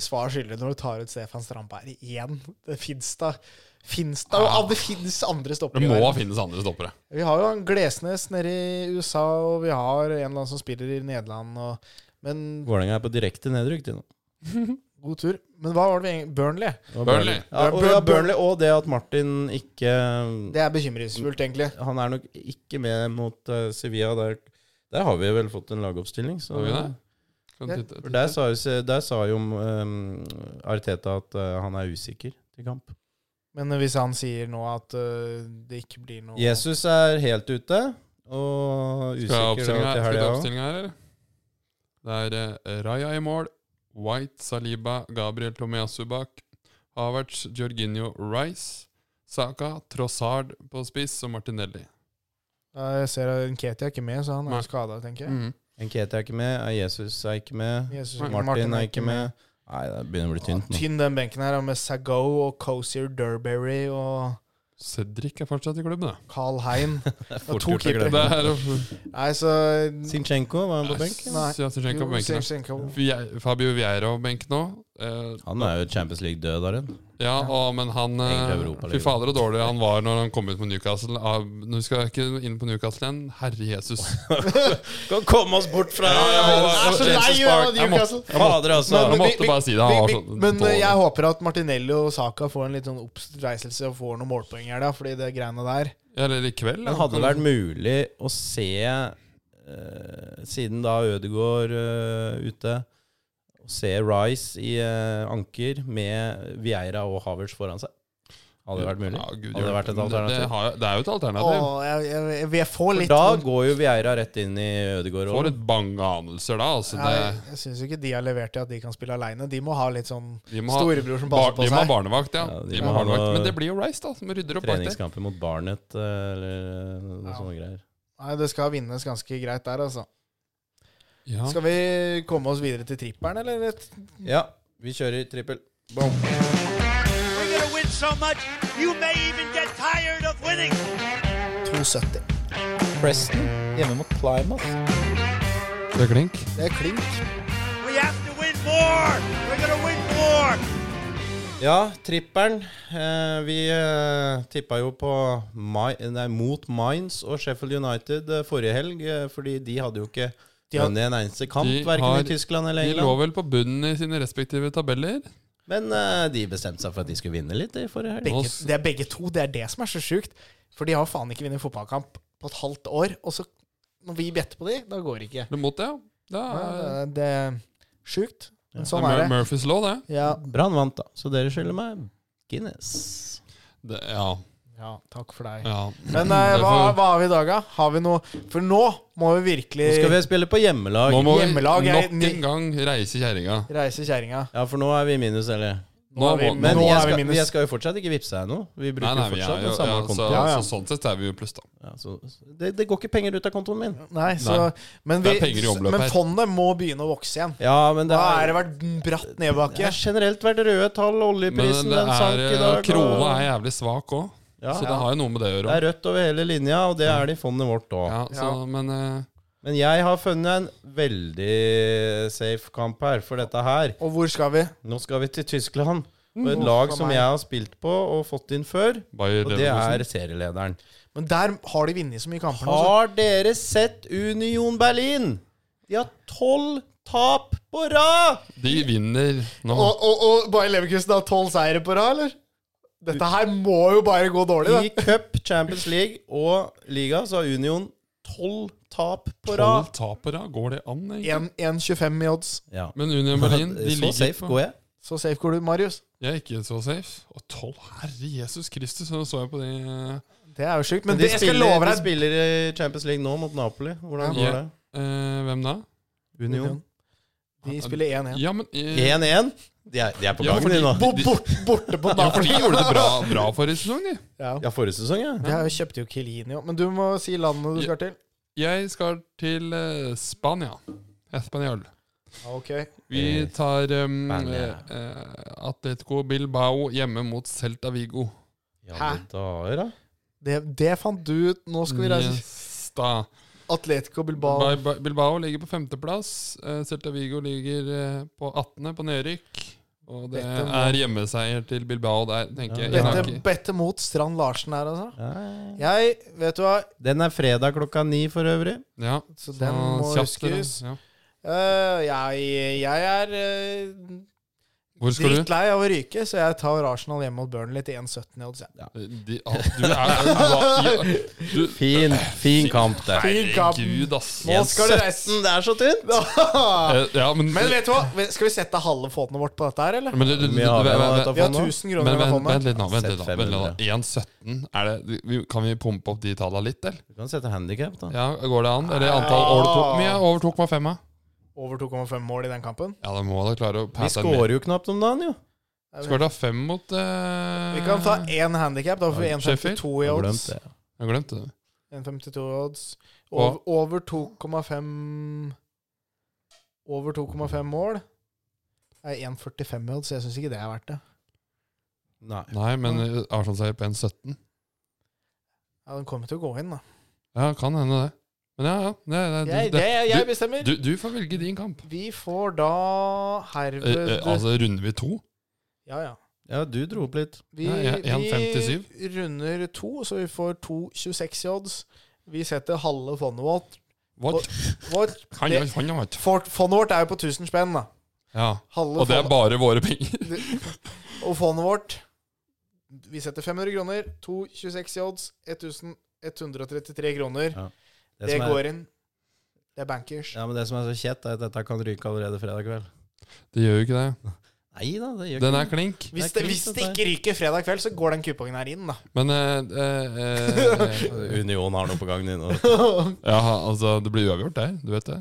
S3: svar skyldig når du tar ut Stefan Strandberg igjen. Det fins da Fins da
S2: Ah.
S3: Det fins andre
S2: Det
S3: stoppere. i
S2: må
S3: verden.
S2: finnes andre stoppere.
S3: Vi har jo han Glesnes nede i USA, og vi har en eller annen som spiller i Nederland. Og, men
S1: Vålerenga er på direkte nedrykk til nå.
S3: god tur. Men hva var det vi egentlig Burnley.
S1: Og
S2: Burnley.
S1: Ja, og, ja, Burnley og det at Martin ikke
S3: Det er bekymringsfullt, egentlig.
S1: Han er nok ikke med mot eh, Sevilla. Der, der har vi vel fått en lagoppstilling. Så.
S2: Har vi det? Kan
S3: Ja,
S2: titte-
S1: For Der sa jo, der sa jo eh, Arteta at eh, han er usikker til kamp.
S3: Men hvis han sier nå at øh, det ikke blir noe
S1: Jesus er helt ute, og
S2: Skal jeg ha
S1: usikker
S2: oppstillinga
S1: da til
S2: her? Skal jeg
S1: helga
S2: ta
S1: òg.
S2: oppstillingen her, eller? Det er eh, Raja i mål, White, Saliba, Gabriel Tomiasu bak, Havertz, Jorginho, Rice, Saka, Trossard på spiss og Martinelli.
S3: Ja, Jeg ser at Nketi er ikke med, så han
S2: Nei.
S3: er skada, tenker jeg.
S1: Mm.
S2: Mhm.
S1: Enkete er ikke med, eh, Jesus er ikke
S2: Mm.
S1: med,
S3: Jesus,
S1: Martin, er ikke med. Nei, det begynner å bli tynt. nå.
S3: Tynn den benken her, og med Sagoe og Cozier Durberry og
S2: Cedric er fortsatt i klubben, da.
S3: Carl Hein.
S1: Det er
S3: Og
S1: fort
S3: to
S1: gjort å
S2: Det
S3: keepere.
S1: glemme.
S2: er
S3: Nei, så
S1: Sinchenko var han på benk.
S3: Nei.
S2: Ja, Sinchenko på
S3: Jo,
S2: benken.
S3: Sinchenko.
S2: Vi- Fabio Vieira på benk nå. Eh,
S1: Han er jo Champions League-død, er han.
S2: ja, og, men han
S1: Egentlig
S2: eh,
S1: Europa,
S2: Fy
S1: eller?
S2: fader, så dårlig han var når han kom ut på Newcastle. Ah, Nå skal jeg ikke inn på Newcastle igjen. Herre Jesus.
S1: Kan komme oss bort fra
S2: Jeg er så lei av
S1: Jesus Park.
S2: Jeg må-
S3: Newcastle.
S1: Fader, altså.
S2: Jeg
S3: Men
S2: måtte
S3: vi-
S2: bare si det. Han var
S3: vi-
S2: så
S3: men eh,
S2: dårlig.
S3: jeg håper at Martinelli og Saka får en litt sånn oppreiselse og får noen målpoeng her, da, fordi det greiene der
S2: Eller i kveld.
S1: Men
S2: da.
S1: hadde det vært mulig å se, eh, siden da Ødegaard eh, ute, å se Rice i eh, anker med Vieira og Havertz foran seg? Hadde det vært mulig?
S2: Ja, Gud,
S1: hadde det vært et
S2: Det,
S1: alternativ?
S2: har, det er jo et alternativ.
S3: Åh, jeg, jeg, jeg får litt sånn-
S1: Da går jo Vieira rett inn i Ødegaard.
S2: Får
S1: også.
S2: et bange anelser da. Altså,
S3: Ja, jeg,
S2: det,
S3: jeg syns ikke de har levert til at de kan spille aleine. De må ha litt sånn
S2: de må ha,
S3: storebror som
S2: bar,
S3: passer på
S2: de må ha
S3: seg.
S2: barnevakt, ja.
S1: Ja,
S2: de må ha barnevakt.
S1: noe-
S2: Men det blir jo Rice, da, som rydder opp bak det.
S1: Treningskamper mot Barnet eh, eller noe
S3: Ja.
S1: sånne greier.
S3: Nei, det skal vinnes ganske greit der, altså.
S2: Ja.
S3: Skal vi komme oss videre til tripperen, eller?
S1: Ja, vi kjører trippel.
S6: We're going to win so much, you may even get tired of winning.
S3: 2,70.
S1: Preston hjemme mot Plymouth.
S2: Det er klink.
S3: Det er klink.
S6: We have to win more. We're going to win more.
S1: Ja, trippelen. Eh, vi eh, tippa jo på Mi nei, mot Mines og Sheffield United eh, forrige helg, eh, fordi de hadde jo ikke
S3: De har-
S1: vunnet en eneste kamp,
S2: De
S1: verken
S2: har-
S1: i Tyskland eller
S2: De lå
S1: England.
S2: vel på bunnen i sine respektive tabeller.
S1: Men eh, de bestemte seg for at de skulle vinne litt i forrige helg.
S3: Begge,
S2: Oss.
S3: det er begge to. Det er det som er så sjukt. For de har faen ikke vunnet fotballkamp på et halvt år. Og så, når vi better på de, da går det ikke.
S2: Eller mot det, ja. Det er,
S3: Ja, Det det er sjukt. Men sånn
S2: det
S3: er
S2: er
S3: det.
S2: Murphys law, det.
S3: Ja.
S1: Brann vant, da, så dere skylder meg Guinness.
S2: det ja,
S3: ja, takk for deg.
S2: ja.
S3: Men eh,
S2: Det
S3: hva,
S2: får-
S3: hva har vi i dag, da? Har vi noe For nå må vi virkelig
S1: Nå skal vi spille på hjemmelag.
S2: Eh, Nå må vi
S3: Hjemmelag er-
S2: nok en gang reise kjerringa.
S3: reise kjerringa.
S1: Ja, for nå er vi i minus, eller?
S2: Nå
S3: er vi-
S2: må-
S1: Men
S3: nå
S1: jeg
S3: er vi
S1: skal,
S3: minus.
S1: jeg skal jo fortsatt ikke vippse deg noe. Vi
S2: Nei,
S1: bruker
S2: nei,
S1: jo
S2: vi er
S1: fortsatt
S2: jo,
S1: den
S2: ja,
S1: samme
S2: så,
S1: kontoen.
S3: Ja, ja.
S2: så sånn sett er vi jo pluss, da.
S1: Ja, så, det, det går ikke penger ut av kontoen min.
S3: Nei, så Men,
S2: Det er
S3: vi,
S2: penger i omløp
S3: men
S2: her.
S3: fondet må begynne å vokse igjen.
S1: Ja, men det
S3: Da har
S1: er,
S3: det vært bratt
S1: det
S3: nedbakke.
S1: har generelt vært røde tall. Oljeprisen
S2: Men det
S1: den sank i
S2: er, eh,
S1: dag. og-
S2: krona er jævlig svak òg,
S1: Ja.
S2: så det har jo noe med det å
S1: Det
S2: gjøre.
S1: er rødt over hele linja, og det er det i fondet vårt òg.
S2: Ja, så, men eh,
S1: Men jeg har funnet en veldig safe kamp her for dette her.
S3: Og hvor skal vi?
S1: Nå skal vi til Tyskland. Og et lag
S3: for
S1: som
S3: Mm. meg.
S1: jeg har spilt på og fått inn før,
S2: Bayer
S1: og det er
S2: Leverkusen.
S1: serielederen.
S3: Men der har de vunnet så mye kamper nå. så-
S1: Har dere sett Union Berlin? De har tolv tap på rad!
S2: De vinner nå.
S3: Og, og, og Bayer Leverkusen har tolv seire på rad, eller? Dette her må jo bare gå dårlig,
S1: I
S3: det.
S1: cup, Champions League og liga så har Union tolv tap på
S2: Tolv
S1: rad.
S2: tap på rad, går det an? egentlig?
S3: 1,25 i odds.
S1: Ja.
S2: Men Union Berlin de
S1: så
S2: ligger
S1: safe
S2: på-
S1: går jeg.
S3: Så safe går du, Marius.
S2: Jeg er ikke så safe. Og tolv Herre Jesus Kristus, så så jeg på de eh,
S3: Det er jo sjukt.
S1: Men
S3: Men
S1: de,
S3: det, jeg skal
S1: spiller,
S3: love
S1: de
S3: deg
S1: spiller i Champions League nå mot Napoli. Hvordan
S2: Ja.
S1: går det?
S2: eh, Hvem da?
S1: Union.
S3: De spiller 1-1.
S2: Ja, men eh,
S1: 1-1. De, er- de er på
S2: Ja,
S1: gangen,
S2: fordi-
S1: de nå.
S3: Bo- Bort, borte på
S2: ja, for
S3: Napoli.
S2: de gjorde det bra, bra forrige sesong, de.
S3: Ja.
S1: Ja, forrige sesong, ja.
S3: Jeg kjøpte jo Kilini òg, men du må si landet du skal til.
S2: Jeg skal til eh, Spania. Español.
S3: Ok.
S2: Vi tar um,
S1: Eh, Spania.
S2: eh, Atletico Bilbao hjemme mot Celta Vigo.
S1: ja men dager, da.
S3: Det, det fant du ut. Nå skal vi reise
S2: Niesta.
S3: Atletico Bilbao.
S2: Ba- Ba- Bilbao ligger på femteplass. eh, Celta Vigo ligger eh, på 18. på nedrykk. Og det
S3: Dette må-
S2: er hjemmeseier til Bilbao der, tenker jeg. jeg. har
S3: Bette,
S2: ikke-
S3: bette mot Strand Larsen her, altså.
S1: Ja.
S3: Jeg, vet du hva
S1: Den er fredag klokka ni for øvrig.
S2: Ja,
S3: Så den må
S2: kjapt, eller?
S3: huskes.
S2: Ja.
S3: Eh, jeg, jeg er eh,
S2: Hvor skal du?
S3: drittlei av å ryke, så jeg tar Arsenal hjemme mot Burnley til 1,17 i odds. jeg.
S2: De, ah, du er du,
S1: Fin, fin kamp, det.
S3: Fin kamp.
S2: Herregud, ass.
S3: Nå skal
S1: 17,
S3: det reise.
S1: det er så tynt!
S2: Eh, Ja, men,
S3: Men vet du hva? Vi- Skal vi sette halve fondet vårt på dette her, eller?
S2: men, du- du- du-
S1: Vi har-
S2: vent- vent-
S1: vi har-
S3: Vi har
S1: Fondet?
S3: 1000 kroner
S2: Men
S3: i
S2: vent, vent
S3: fondet.
S2: litt nå. Vent litt nå,
S1: Sett
S2: vent litt nå. 1,17. Er det, vi, kan vi pumpe opp de tallene litt, eller?
S1: Du kan sette handikap, da.
S2: Ja, Går det an? Eller antall overtok? Mye overtok med femma?
S3: Over 2,5 mål i den kampen.
S2: Ja, da må da klare å
S1: Vi
S2: passe en
S1: scorer jo knapt om dagen, jo.
S2: Skal ta fem mot eh,
S3: Vi kan ta én handikap. Da får vi
S2: Ja, Sheffield.
S3: 1,52 i
S1: Jeg har
S3: odds.
S1: glemt det.
S2: Jeg glemte det.
S3: 1,52 i odds. Over, over 2,5 Over 2,5 mål er 1,45 i odds, så jeg syns ikke det er verdt det.
S1: Nei.
S2: Nei, men eh, Arsenal-seier på 1,17.
S3: Ja, Den kommer til å gå inn, da.
S2: Ja, kan hende det. Men ja, ja. Det, det,
S3: Jeg,
S2: det,
S3: det, jeg bestemmer.
S2: du, du får velge din kamp.
S3: Vi får da herved
S2: Eh, eh, altså, runder vi to?
S3: Ja, ja.
S1: Ja, du dro opp litt.
S3: Vi,
S2: Ja, ja, 1,57.
S3: vi runder to, så vi får 2,26 i odds. Vi setter halve fondet vårt.
S2: What?
S3: vårt
S2: Han,
S3: det-
S2: han, han, vet du.
S3: for- Fondet vårt er jo på 1000 spenn, da.
S2: Ja.
S3: Halve
S2: Og det er
S3: fondet-
S2: bare våre penger.
S3: og fondet vårt Vi setter 500 kroner, 2,26 i odds, 1133 kroner.
S1: Ja.
S3: Det,
S1: som er-
S3: går inn. Det er bankers.
S1: Ja, men Det som er så kjett, er at dette kan ryke allerede fredag kveld.
S2: Det gjør jo ikke det.
S1: Nei da, det gjør
S2: Den
S1: ikke
S2: er klink.
S1: Det er
S3: Hvis det,
S1: kult,
S3: hvis det
S1: dette
S3: ikke ryker fredag kveld, så går den kupongen her inn, da.
S2: Men eh, eh, eh,
S1: det. Union har noe på gangen din.
S2: Ja, altså, det blir uavgjort der. Du vet det.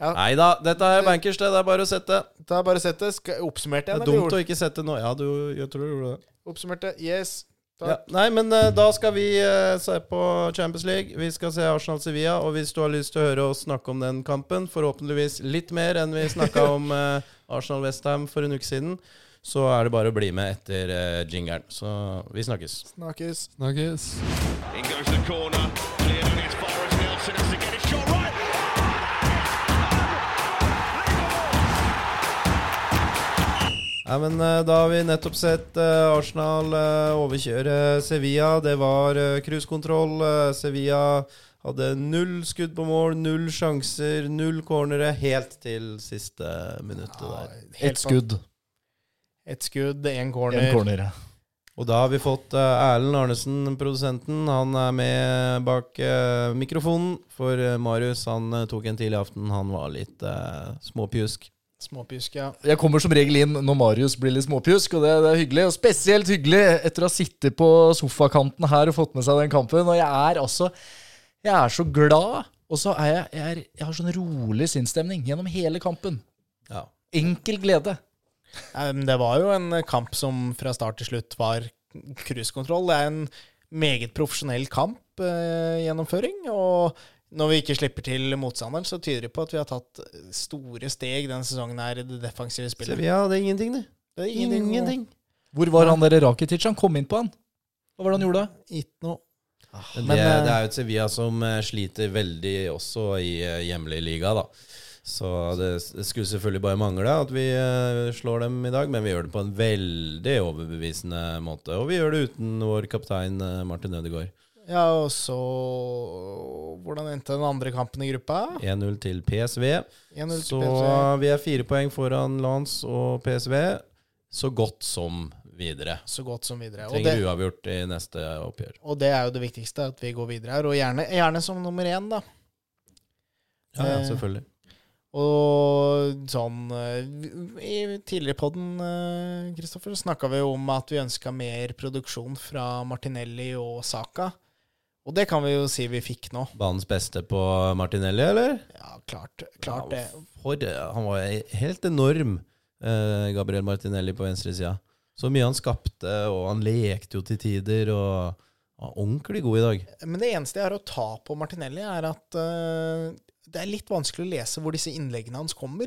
S1: Nei da, dette er bankers, det. Det er bare å sette.
S3: Da bare sett det. Skal,
S1: Det
S3: oppsummerte jeg,
S1: er
S3: eller
S1: dumt
S3: gjorde
S1: å ikke sette nå. Ja, du, jeg tror du gjorde det.
S3: Oppsummerte. Yes. Takk.
S1: Ja. Nei, men eh, da skal vi eh, se på Champions League. Vi skal se Arsenal-Sevilla. Og hvis du har lyst til å høre oss snakke om den kampen, forhåpentligvis litt mer enn vi snakka om eh, Arsenal-Westham for en uke siden, så er det bare å bli med etter eh, jingeren. Så vi snakkes.
S3: Snakkes.
S2: Snakkes.
S4: In goes the corner, cleared and it's Forrest Nelson has to get it shot right.
S1: Nei, men eh, Da har vi nettopp sett eh, Arsenal eh, overkjøre Sevilla. Det var eh, cruisekontroll. Eh, Sevilla hadde null skudd på mål, null sjanser, null cornere, helt til siste minuttet der.
S7: Ett skudd,
S3: Et skudd, én
S7: én
S3: corner.
S7: corner.
S1: Og da har vi fått eh, Erlend Arnesen, produsenten. Han er med bak eh, mikrofonen. For eh, Marius han eh, tok en tidlig aften. Han var litt eh, småpjusk.
S3: Småpjusk, ja.
S7: Jeg kommer som regel inn når Marius blir litt småpjusk, og det, det er hyggelig. Og spesielt hyggelig etter å ha sittet på sofakanten her og fått med seg den kampen. Og jeg er altså Jeg er så glad, og så er jeg Jeg, er, jeg har sånn rolig sinnsstemning gjennom hele kampen.
S1: Ja.
S7: Enkel glede.
S3: Nei, men Det var jo en eh, kamp som fra start til slutt var cruisekontroll. Det er en meget profesjonell kampgjennomføring. og når vi ikke slipper til motstanderen, så tyder det på at vi har tatt store steg denne sesongen her i det defensive spillet.
S1: Sevilla hadde ingenting, det.
S3: Det er ingenting.
S1: Ingenting.
S7: Hvor var han der Rakitic? Han kom inn på han. Hva var det han gjorde?
S3: Ikke noe.
S1: Men
S3: Men,
S1: det,
S3: eh,
S1: det er jo et Sevilla som eh, sliter veldig også i eh, hjemlig liga, da. Så det, det skulle selvfølgelig bare mangle at vi eh, slår dem i dag, men vi gjør det på en veldig overbevisende måte. Og vi gjør det uten vår kaptein eh, Martin Ødegaard.
S3: Ja, og så Hvordan endte den andre kampen i gruppa?
S1: 1-0 til PSV.
S3: 1-0 til
S1: Så
S3: PSG.
S1: vi er fire poeng foran Lance og PSV, så godt som videre.
S3: Så godt som videre. Og
S1: Trenger
S3: det,
S1: uavgjort i neste oppgjør.
S3: og det er jo det viktigste, at vi går videre her. Og gjerne, gjerne som nummer én, da.
S1: Ja, ja,
S3: Eh,
S1: selvfølgelig.
S3: Og sånn eh, vi- I tidligere podden, Kristoffer, snakka vi jo om at vi ønska mer produksjon fra Martinelli og Saka. Og det kan vi jo si vi fikk nå.
S1: Banens beste på Martinelli, eller?
S3: Ja, klart, klart
S1: Ja,
S3: det.
S1: For, eh, han var helt enorm, eh, Gabriel Martinelli på venstresida. Så mye han skapte, og han lekte jo til tider, og han var ordentlig god i dag.
S3: Men det eneste jeg har å ta på Martinelli, er at eh, det er litt vanskelig å lese hvor disse innleggene hans kommer.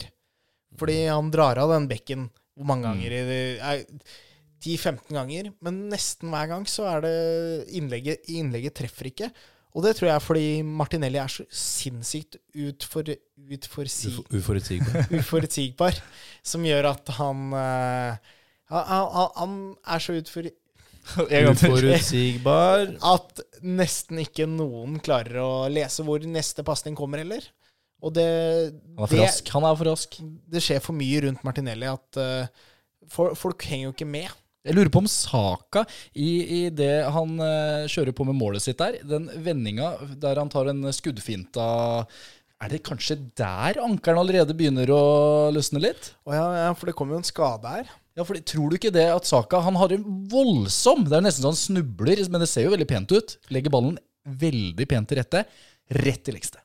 S3: Fordi han drar av den bekken hvor mange ganger i det- nei, 10-15 ganger. Men nesten hver gang så er det innlegget, innlegget treffer ikke. Og det tror jeg er fordi Martinelli er så sinnssykt utfor, utforsi,
S1: Ufo- Uforutsigbar.
S3: uforutsigbar, som gjør at han eh, han, han, han er så utfor,
S1: Uforutsigbar.
S3: at nesten ikke noen klarer å lese hvor neste pasning kommer heller. Og det,
S7: Han er for
S3: det,
S7: rask. Han er for rask.
S3: det skjer for mye rundt Martinelli at eh, fol- folk henger jo ikke med.
S7: Jeg lurer på om Saka, i, i det han eh, kjører på med målet sitt der, den vendinga der han tar en skuddfinte Er det kanskje der ankeren allerede begynner å løsne litt?
S3: Og ja, ja, for det kommer jo en skade her.
S7: Ja, for Tror du ikke det at Saka Han har en voldsom Det er nesten så han snubler, men det ser jo veldig pent ut. Legger ballen veldig pent til rette. Rett til lekste.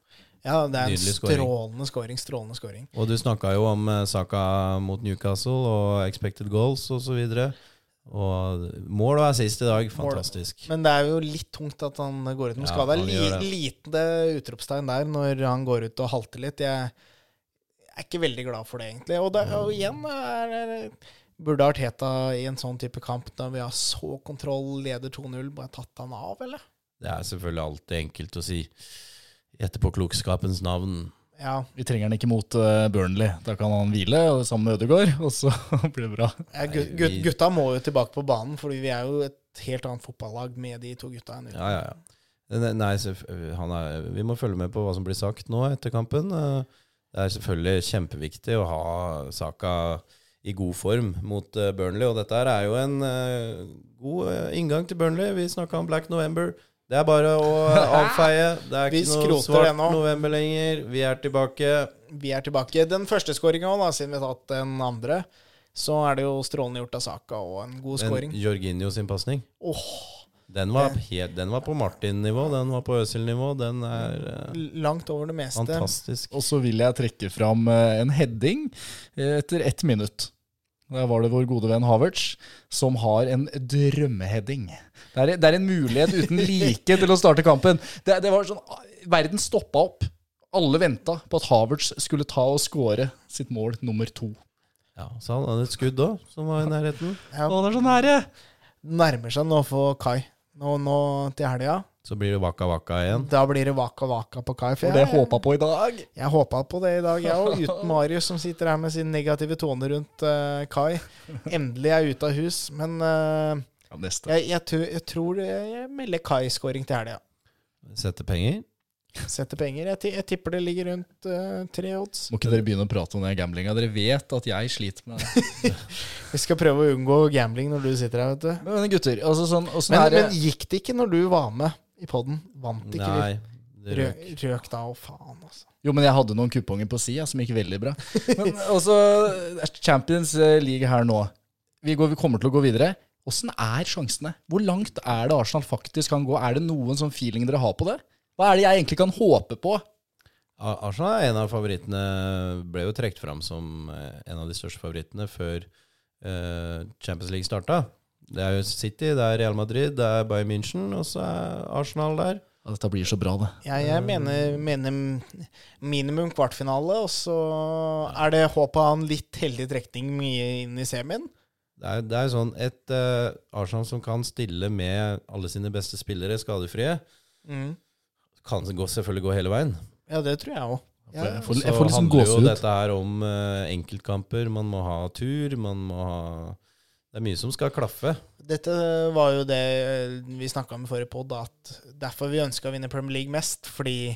S3: Ja, det er en
S1: Nydelig scoring.
S3: strålende scoring. Strålende scoring.
S1: Og du snakka jo om eh, Saka mot Newcastle og expected goals osv. Og, så videre. og mål og assist i dag, fantastisk.
S3: Men det er jo litt tungt at han går ut med
S1: Ja,
S3: skade.
S1: han
S3: Li,
S1: gjør det.
S3: lite utropstegn der når han går ut og halter litt. Jeg, jeg er ikke veldig glad for det, egentlig. Og, det, og igjen er, er, Burde Arteta i en sånn type kamp, da vi har så kontroll, leder 2-0, bare tatt han av, eller?
S1: Det er selvfølgelig alltid enkelt å si. Etterpåklokskapens navn.
S3: Ja,
S7: Vi trenger han ikke mot eh, Burnley. Da kan han hvile og sammen med Ødegaard, og så blir det bra.
S3: ja, gut,
S1: Nei,
S3: gut,
S1: vi-
S3: gutta må jo tilbake på banen, for vi er jo et helt annet fotballag med de to gutta. enn vi-
S1: Ja, ja, ja. Ne- Nei, selvf- han er, vi må følge med på hva som blir sagt nå etter kampen. Eh, Det er selvfølgelig kjempeviktig å ha Saka i god form mot eh, Burnley, og dette her er jo en eh, god eh, inngang til Burnley. Vi snakka om Black November. Det er bare å eh, avfeie. Det er
S3: Vi
S1: ikke noe
S3: skroter
S1: svart
S3: det nå.
S1: november lenger. Vi er tilbake.
S3: Vi er tilbake. Den første skåringa òg, siden vi har tatt den andre, så er det jo strålende gjort av Saka og en god
S1: Men
S3: scoring.
S1: Jorginho sin pasning,
S3: Åh,
S1: den, var helt- den var på Martin-nivå, den var på Øsil-nivå. Den er eh,
S3: langt over det meste.
S1: fantastisk.
S7: Og så vil jeg trekke fram eh, en heading eh, etter ett minutt. Der var det vår gode venn Havertz, som har en drømmeheading. Det er, det er en mulighet uten like til å starte kampen. Det, det var sånn, Verden stoppa opp. Alle venta på at Havertz skulle ta og score sitt mål nummer to.
S1: Ja, så han hadde et skudd òg, som var i nærheten.
S3: Ja.
S7: Å, det er så nære!
S3: Nærmer seg nå for Kai. Nå, nå til helga.
S1: Så blir det Waka Waka igjen.
S3: Da blir det vaka vaka på Kai. For
S7: For det
S3: jeg,
S7: håpa på i dag.
S3: jeg håpa på det i dag, jeg òg. Uten Marius som sitter her med sin negative tone rundt eh, Kai. Endelig er jeg ute av hus. Men eh,
S7: Ja, neste.
S3: jeg, jeg, tu- jeg tror det- jeg melder Kai-scoring til helga.
S1: Setter penger.
S3: Setter penger. Jeg, ti- jeg tipper det ligger rundt eh, tre odds.
S7: Må ikke dere begynne å prate om den gamblinga. Dere vet at jeg sliter med det.
S3: Vi skal prøve å unngå gambling når du sitter her, vet du.
S7: Men gutter, altså sånn, åssen
S3: Men,
S7: er det-
S3: men gikk det ikke når du var med i poden? Vant ikke
S1: Nei,
S3: vi?
S1: det røk.
S3: Røk, røk da, å faen, altså.
S7: Jo, men jeg hadde noen kuponger på sida som gikk veldig bra. Men også eh, Champions League her nå. Vi, går, vi kommer til å gå videre. Åssen er sjansene? Hvor langt er det Arsenal faktisk kan gå? Er det noen sånn feeling dere har på det? Hva er det jeg egentlig kan håpe på?
S1: Ar- Arsenal er en av favorittene. Ble jo trukket fram som eh, en av de største favorittene før eh, Champions League starta. Det er jo City, det er Real Madrid, det er Bayern München, og så er Arsenal der.
S7: Ja, dette blir så bra, det.
S3: Jeg, jeg mener, mener minimum kvartfinale, og så er det håp av en litt heldig trekning mye inn i semien.
S1: Det er, det er sånn et eh, Arsenal som kan stille med alle sine beste spillere skadefrie,
S3: Mm.
S1: kan gå, selvfølgelig gå hele veien.
S3: Ja, det tror jeg òg. Ja,
S7: Jeg får,
S1: Så
S7: jeg får liksom
S1: handler jo
S7: gåsehud.
S1: dette her om eh, enkeltkamper. Man må ha tur, man må ha Det er mye som skal klaffe.
S3: Dette var jo det eh, vi snakka om i forrige pod, at derfor vi ønska å vinne Premier League mest. Fordi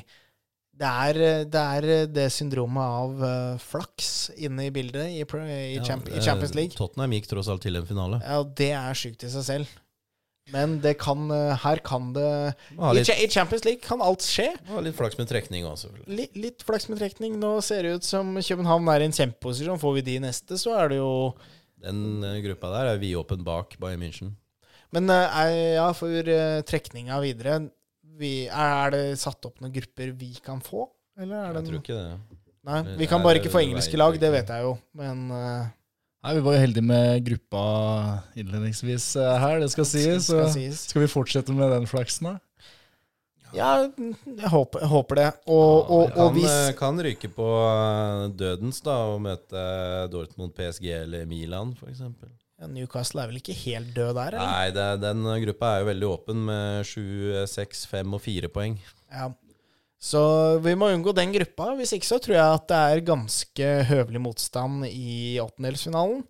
S3: det er det, er det syndromet av eh, flaks inne i bildet i, Pre- i,
S1: Ja,
S3: Champ i
S1: eh,
S3: Champions League.
S1: Tottenham gikk tross alt til en finale.
S3: Ja, og det er sjukt i seg selv. Men det kan, eh, her kan det
S1: Må ha
S3: i,
S1: litt
S3: Cha- I Champions League kan alt skje.
S1: Og litt flaks med trekning òg, selvfølgelig.
S3: Litt, litt flaks med trekning. Nå ser det ut som København er i en kjempeposisjon. Får vi de neste, så er det jo
S1: Den eh, gruppa der er vidåpen bak Bayern München.
S3: Men eh, er- ja, for eh, trekninga videre vi, er, er det satt opp noen grupper vi kan få? Eller er det
S1: Jeg tror
S3: noen-
S1: ikke det.
S3: Nei, vi
S1: det
S3: kan
S1: er-
S3: bare ikke få
S1: det
S3: engelske
S1: vet
S3: lag,
S1: jeg
S3: det
S1: ikke.
S3: vet jeg jo. Men eh,
S7: Nei, vi var jo heldige med gruppa innledningsvis eh, her, det skal sies.
S3: skal
S7: så
S3: sies.
S7: Skal vi fortsette med den flaksen, da?
S3: Ja, jeg håper, jeg håper det. Og, og, og
S1: Kan,
S3: hvis
S1: eh, kan ryke på eh, dødens da og møte eh, Dortmund, PSG eller Milan f.eks.
S3: ja, Newcastle er vel ikke helt død der, eller?
S1: Nei, det, er- den gruppa er jo veldig åpen med sju, eh, seks, fem og fire poeng.
S3: Ja. Så vi må unngå den gruppa. Hvis ikke så tror jeg at det er ganske høvelig motstand i åttendelsfinalen.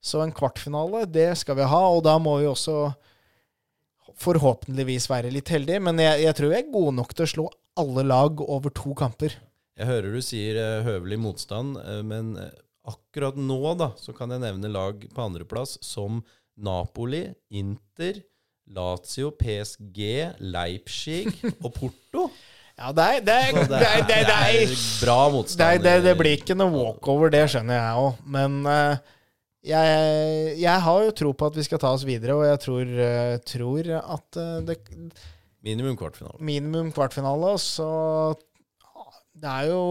S3: Så en kvartfinale, det skal vi ha, og da må vi også forhåpentligvis være litt heldige. Men jeg, jeg tror vi er gode nok til å slå alle lag over to kamper.
S1: Jeg hører du sier eh, høvelig motstand, eh, men eh, akkurat nå da, så kan jeg nevne lag på andreplass som Napoli, Inter, Lazio, PSG, Leipzig og Porto.
S3: Ja, det er, det er,
S1: Så
S3: det er, det er, det er,
S1: bra
S3: det,
S1: motstand.
S3: er, det, det blir ikke noe walkover, det skjønner jeg òg. Men eh, jeg, jeg har jo tro på at vi skal ta oss videre, og jeg tror, eh, tror at eh, det,
S1: Minimum kvartfinale.
S3: minimum kvartfinale, og så Det er jo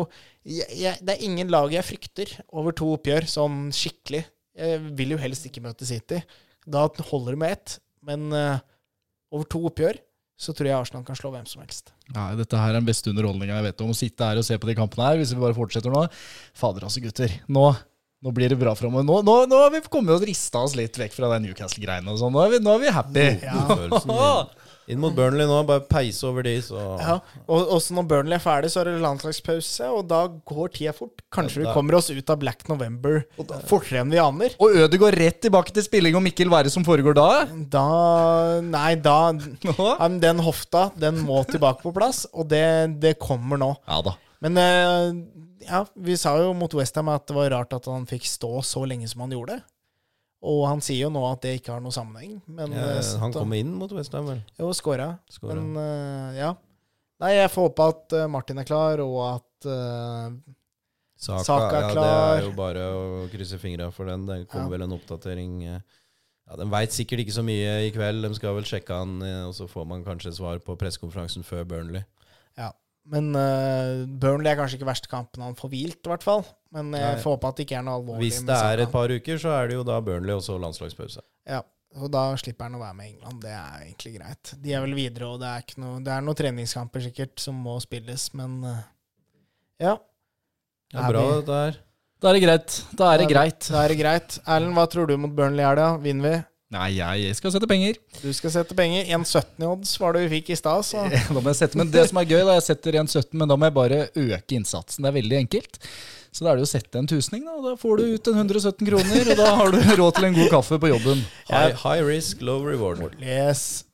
S3: jeg, jeg, Det er ingen lag jeg frykter over to oppgjør, sånn skikkelig. Jeg vil jo helst ikke møte City. Da holder det med ett. Men eh, over to oppgjør så tror jeg Arsenal kan slå hvem som helst.
S7: Nei, dette her er den beste underholdninga jeg vet om. Å sitte her og se på de kampene her, hvis vi bare fortsetter nå. Fader altså, gutter. Nå, nå blir det bra framover. Nå, nå, nå har vi kommet og rista oss litt vekk fra den Newcastle-greiene og sånn. Nå, er vi- nå er vi happy.
S1: Følelsen inn, inn mot Burnley nå, bare peise over de, så
S3: Ja, og også når Burnley er ferdig, så er det landslagspause, og da går tida fort. Kanskje vi kommer oss ut av Black November fortere enn vi aner.
S7: Og Øde går rett tilbake til spilling og Mikkel Wære som foregår da.
S3: Da Nei, da
S7: Nå?
S3: Ja, men Den hofta, den må tilbake på plass, og det, det kommer nå.
S7: Ja da.
S3: Men eh, ja, vi sa jo mot Westham at det var rart at han fikk stå så lenge som han gjorde. Og han sier jo nå at det ikke har noen sammenheng. Men
S1: eh,
S3: eh,
S1: Han
S3: så-
S1: kommer inn mot Westham, vel.
S3: Jo, skåra.
S1: Skåra.
S3: Men eh, ja. Nei, jeg får håpe at eh, Martin er klar, og at eh,
S1: Saka,
S3: Saka er
S1: ja,
S3: klar.
S1: Det er jo bare å krysse fingra for den. Det kommer vel en oppdatering eh, ja, De veit sikkert ikke så mye i kveld. De skal vel sjekke han, eh, og så får man kanskje svar på pressekonferansen før Burnley.
S3: Ja. Men eh, Burnley er kanskje ikke verste kampen han får hvilt, i hvert fall. Men jeg får håpe at det ikke er noe alvorlig.
S1: Hvis
S3: med
S1: det
S3: Saka.
S1: er et par uker, så er det jo da Burnley og så landslagspause.
S3: Ja, og da slipper han å være med England. Det er egentlig greit. De er vel videre, og det er, ikke noe, det er noen treningskamper sikkert som må spilles, men eh, ja.
S1: Det
S3: Er
S1: er bra,
S3: vi-
S1: dette her.
S7: Da er det greit. Da er det greit.
S3: Da er det greit. Erlend, hva tror du mot Burnley i helga? Vinner vi?
S7: Nei, jeg skal sette penger.
S3: Du skal sette penger. 1,17 i odds var det vi fikk i stad, så
S7: Da må jeg sette, men det som er gøy, da jeg setter 1,17, men da må jeg bare øke innsatsen. Det er veldig enkelt. Så da er det jo å sette en tusning, da. og Da får du ut en 117 kroner, og da har du råd til en god kaffe på jobben.
S1: High, high risk, low reward.
S3: Yes.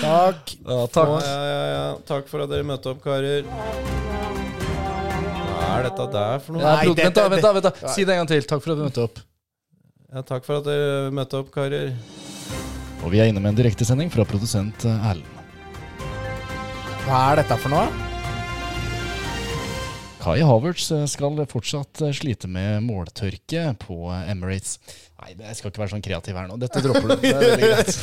S3: Takk.
S7: Ja,
S1: Å,
S7: takk.
S1: ja, ja, ja. Takk for at dere møtte opp, karer. Hva er dette der for noe?
S7: Nei,
S3: Nei,
S7: pro-
S3: det-
S7: vent, da,
S3: det-
S7: vent, da, vent da. Si det en gang til. Takk for at du møtte opp.
S1: Ja, takk for at dere møtte opp, karer.
S7: Og vi er inne med en direktesending fra produsent eh, Erlend.
S3: Hva er dette for noe?
S7: Kai Havertz eh, skal fortsatt eh, slite med måltørke på Emirates. Nei, det- jeg skal ikke være sånn kreativ her nå. Dette dropper du. Det er veldig greit.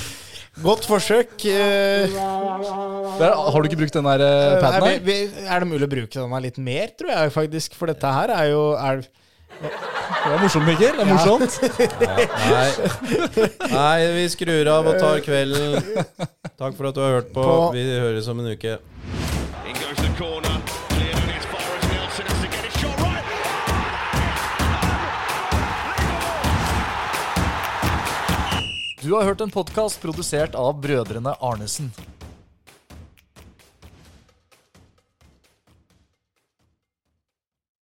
S3: Godt forsøk. eh,
S7: Der, har du ikke brukt den der eh, paden
S3: Nei,
S7: her?
S3: vi, vi, er det mulig å bruke denne litt mer, tror jeg faktisk? For dette her er jo er,
S7: Det er morsomt, Mikkel. Det er morsomt.
S1: Nei. Nei, vi skrur av og tar kvelden. Takk for at du har hørt på.
S3: På-
S1: Vi høres om en uke.
S4: In goes the corner, cleared and it's Forrest Nelson has to get it shot right.
S7: Du har hørt en podkast produsert av brødrene Arnesen.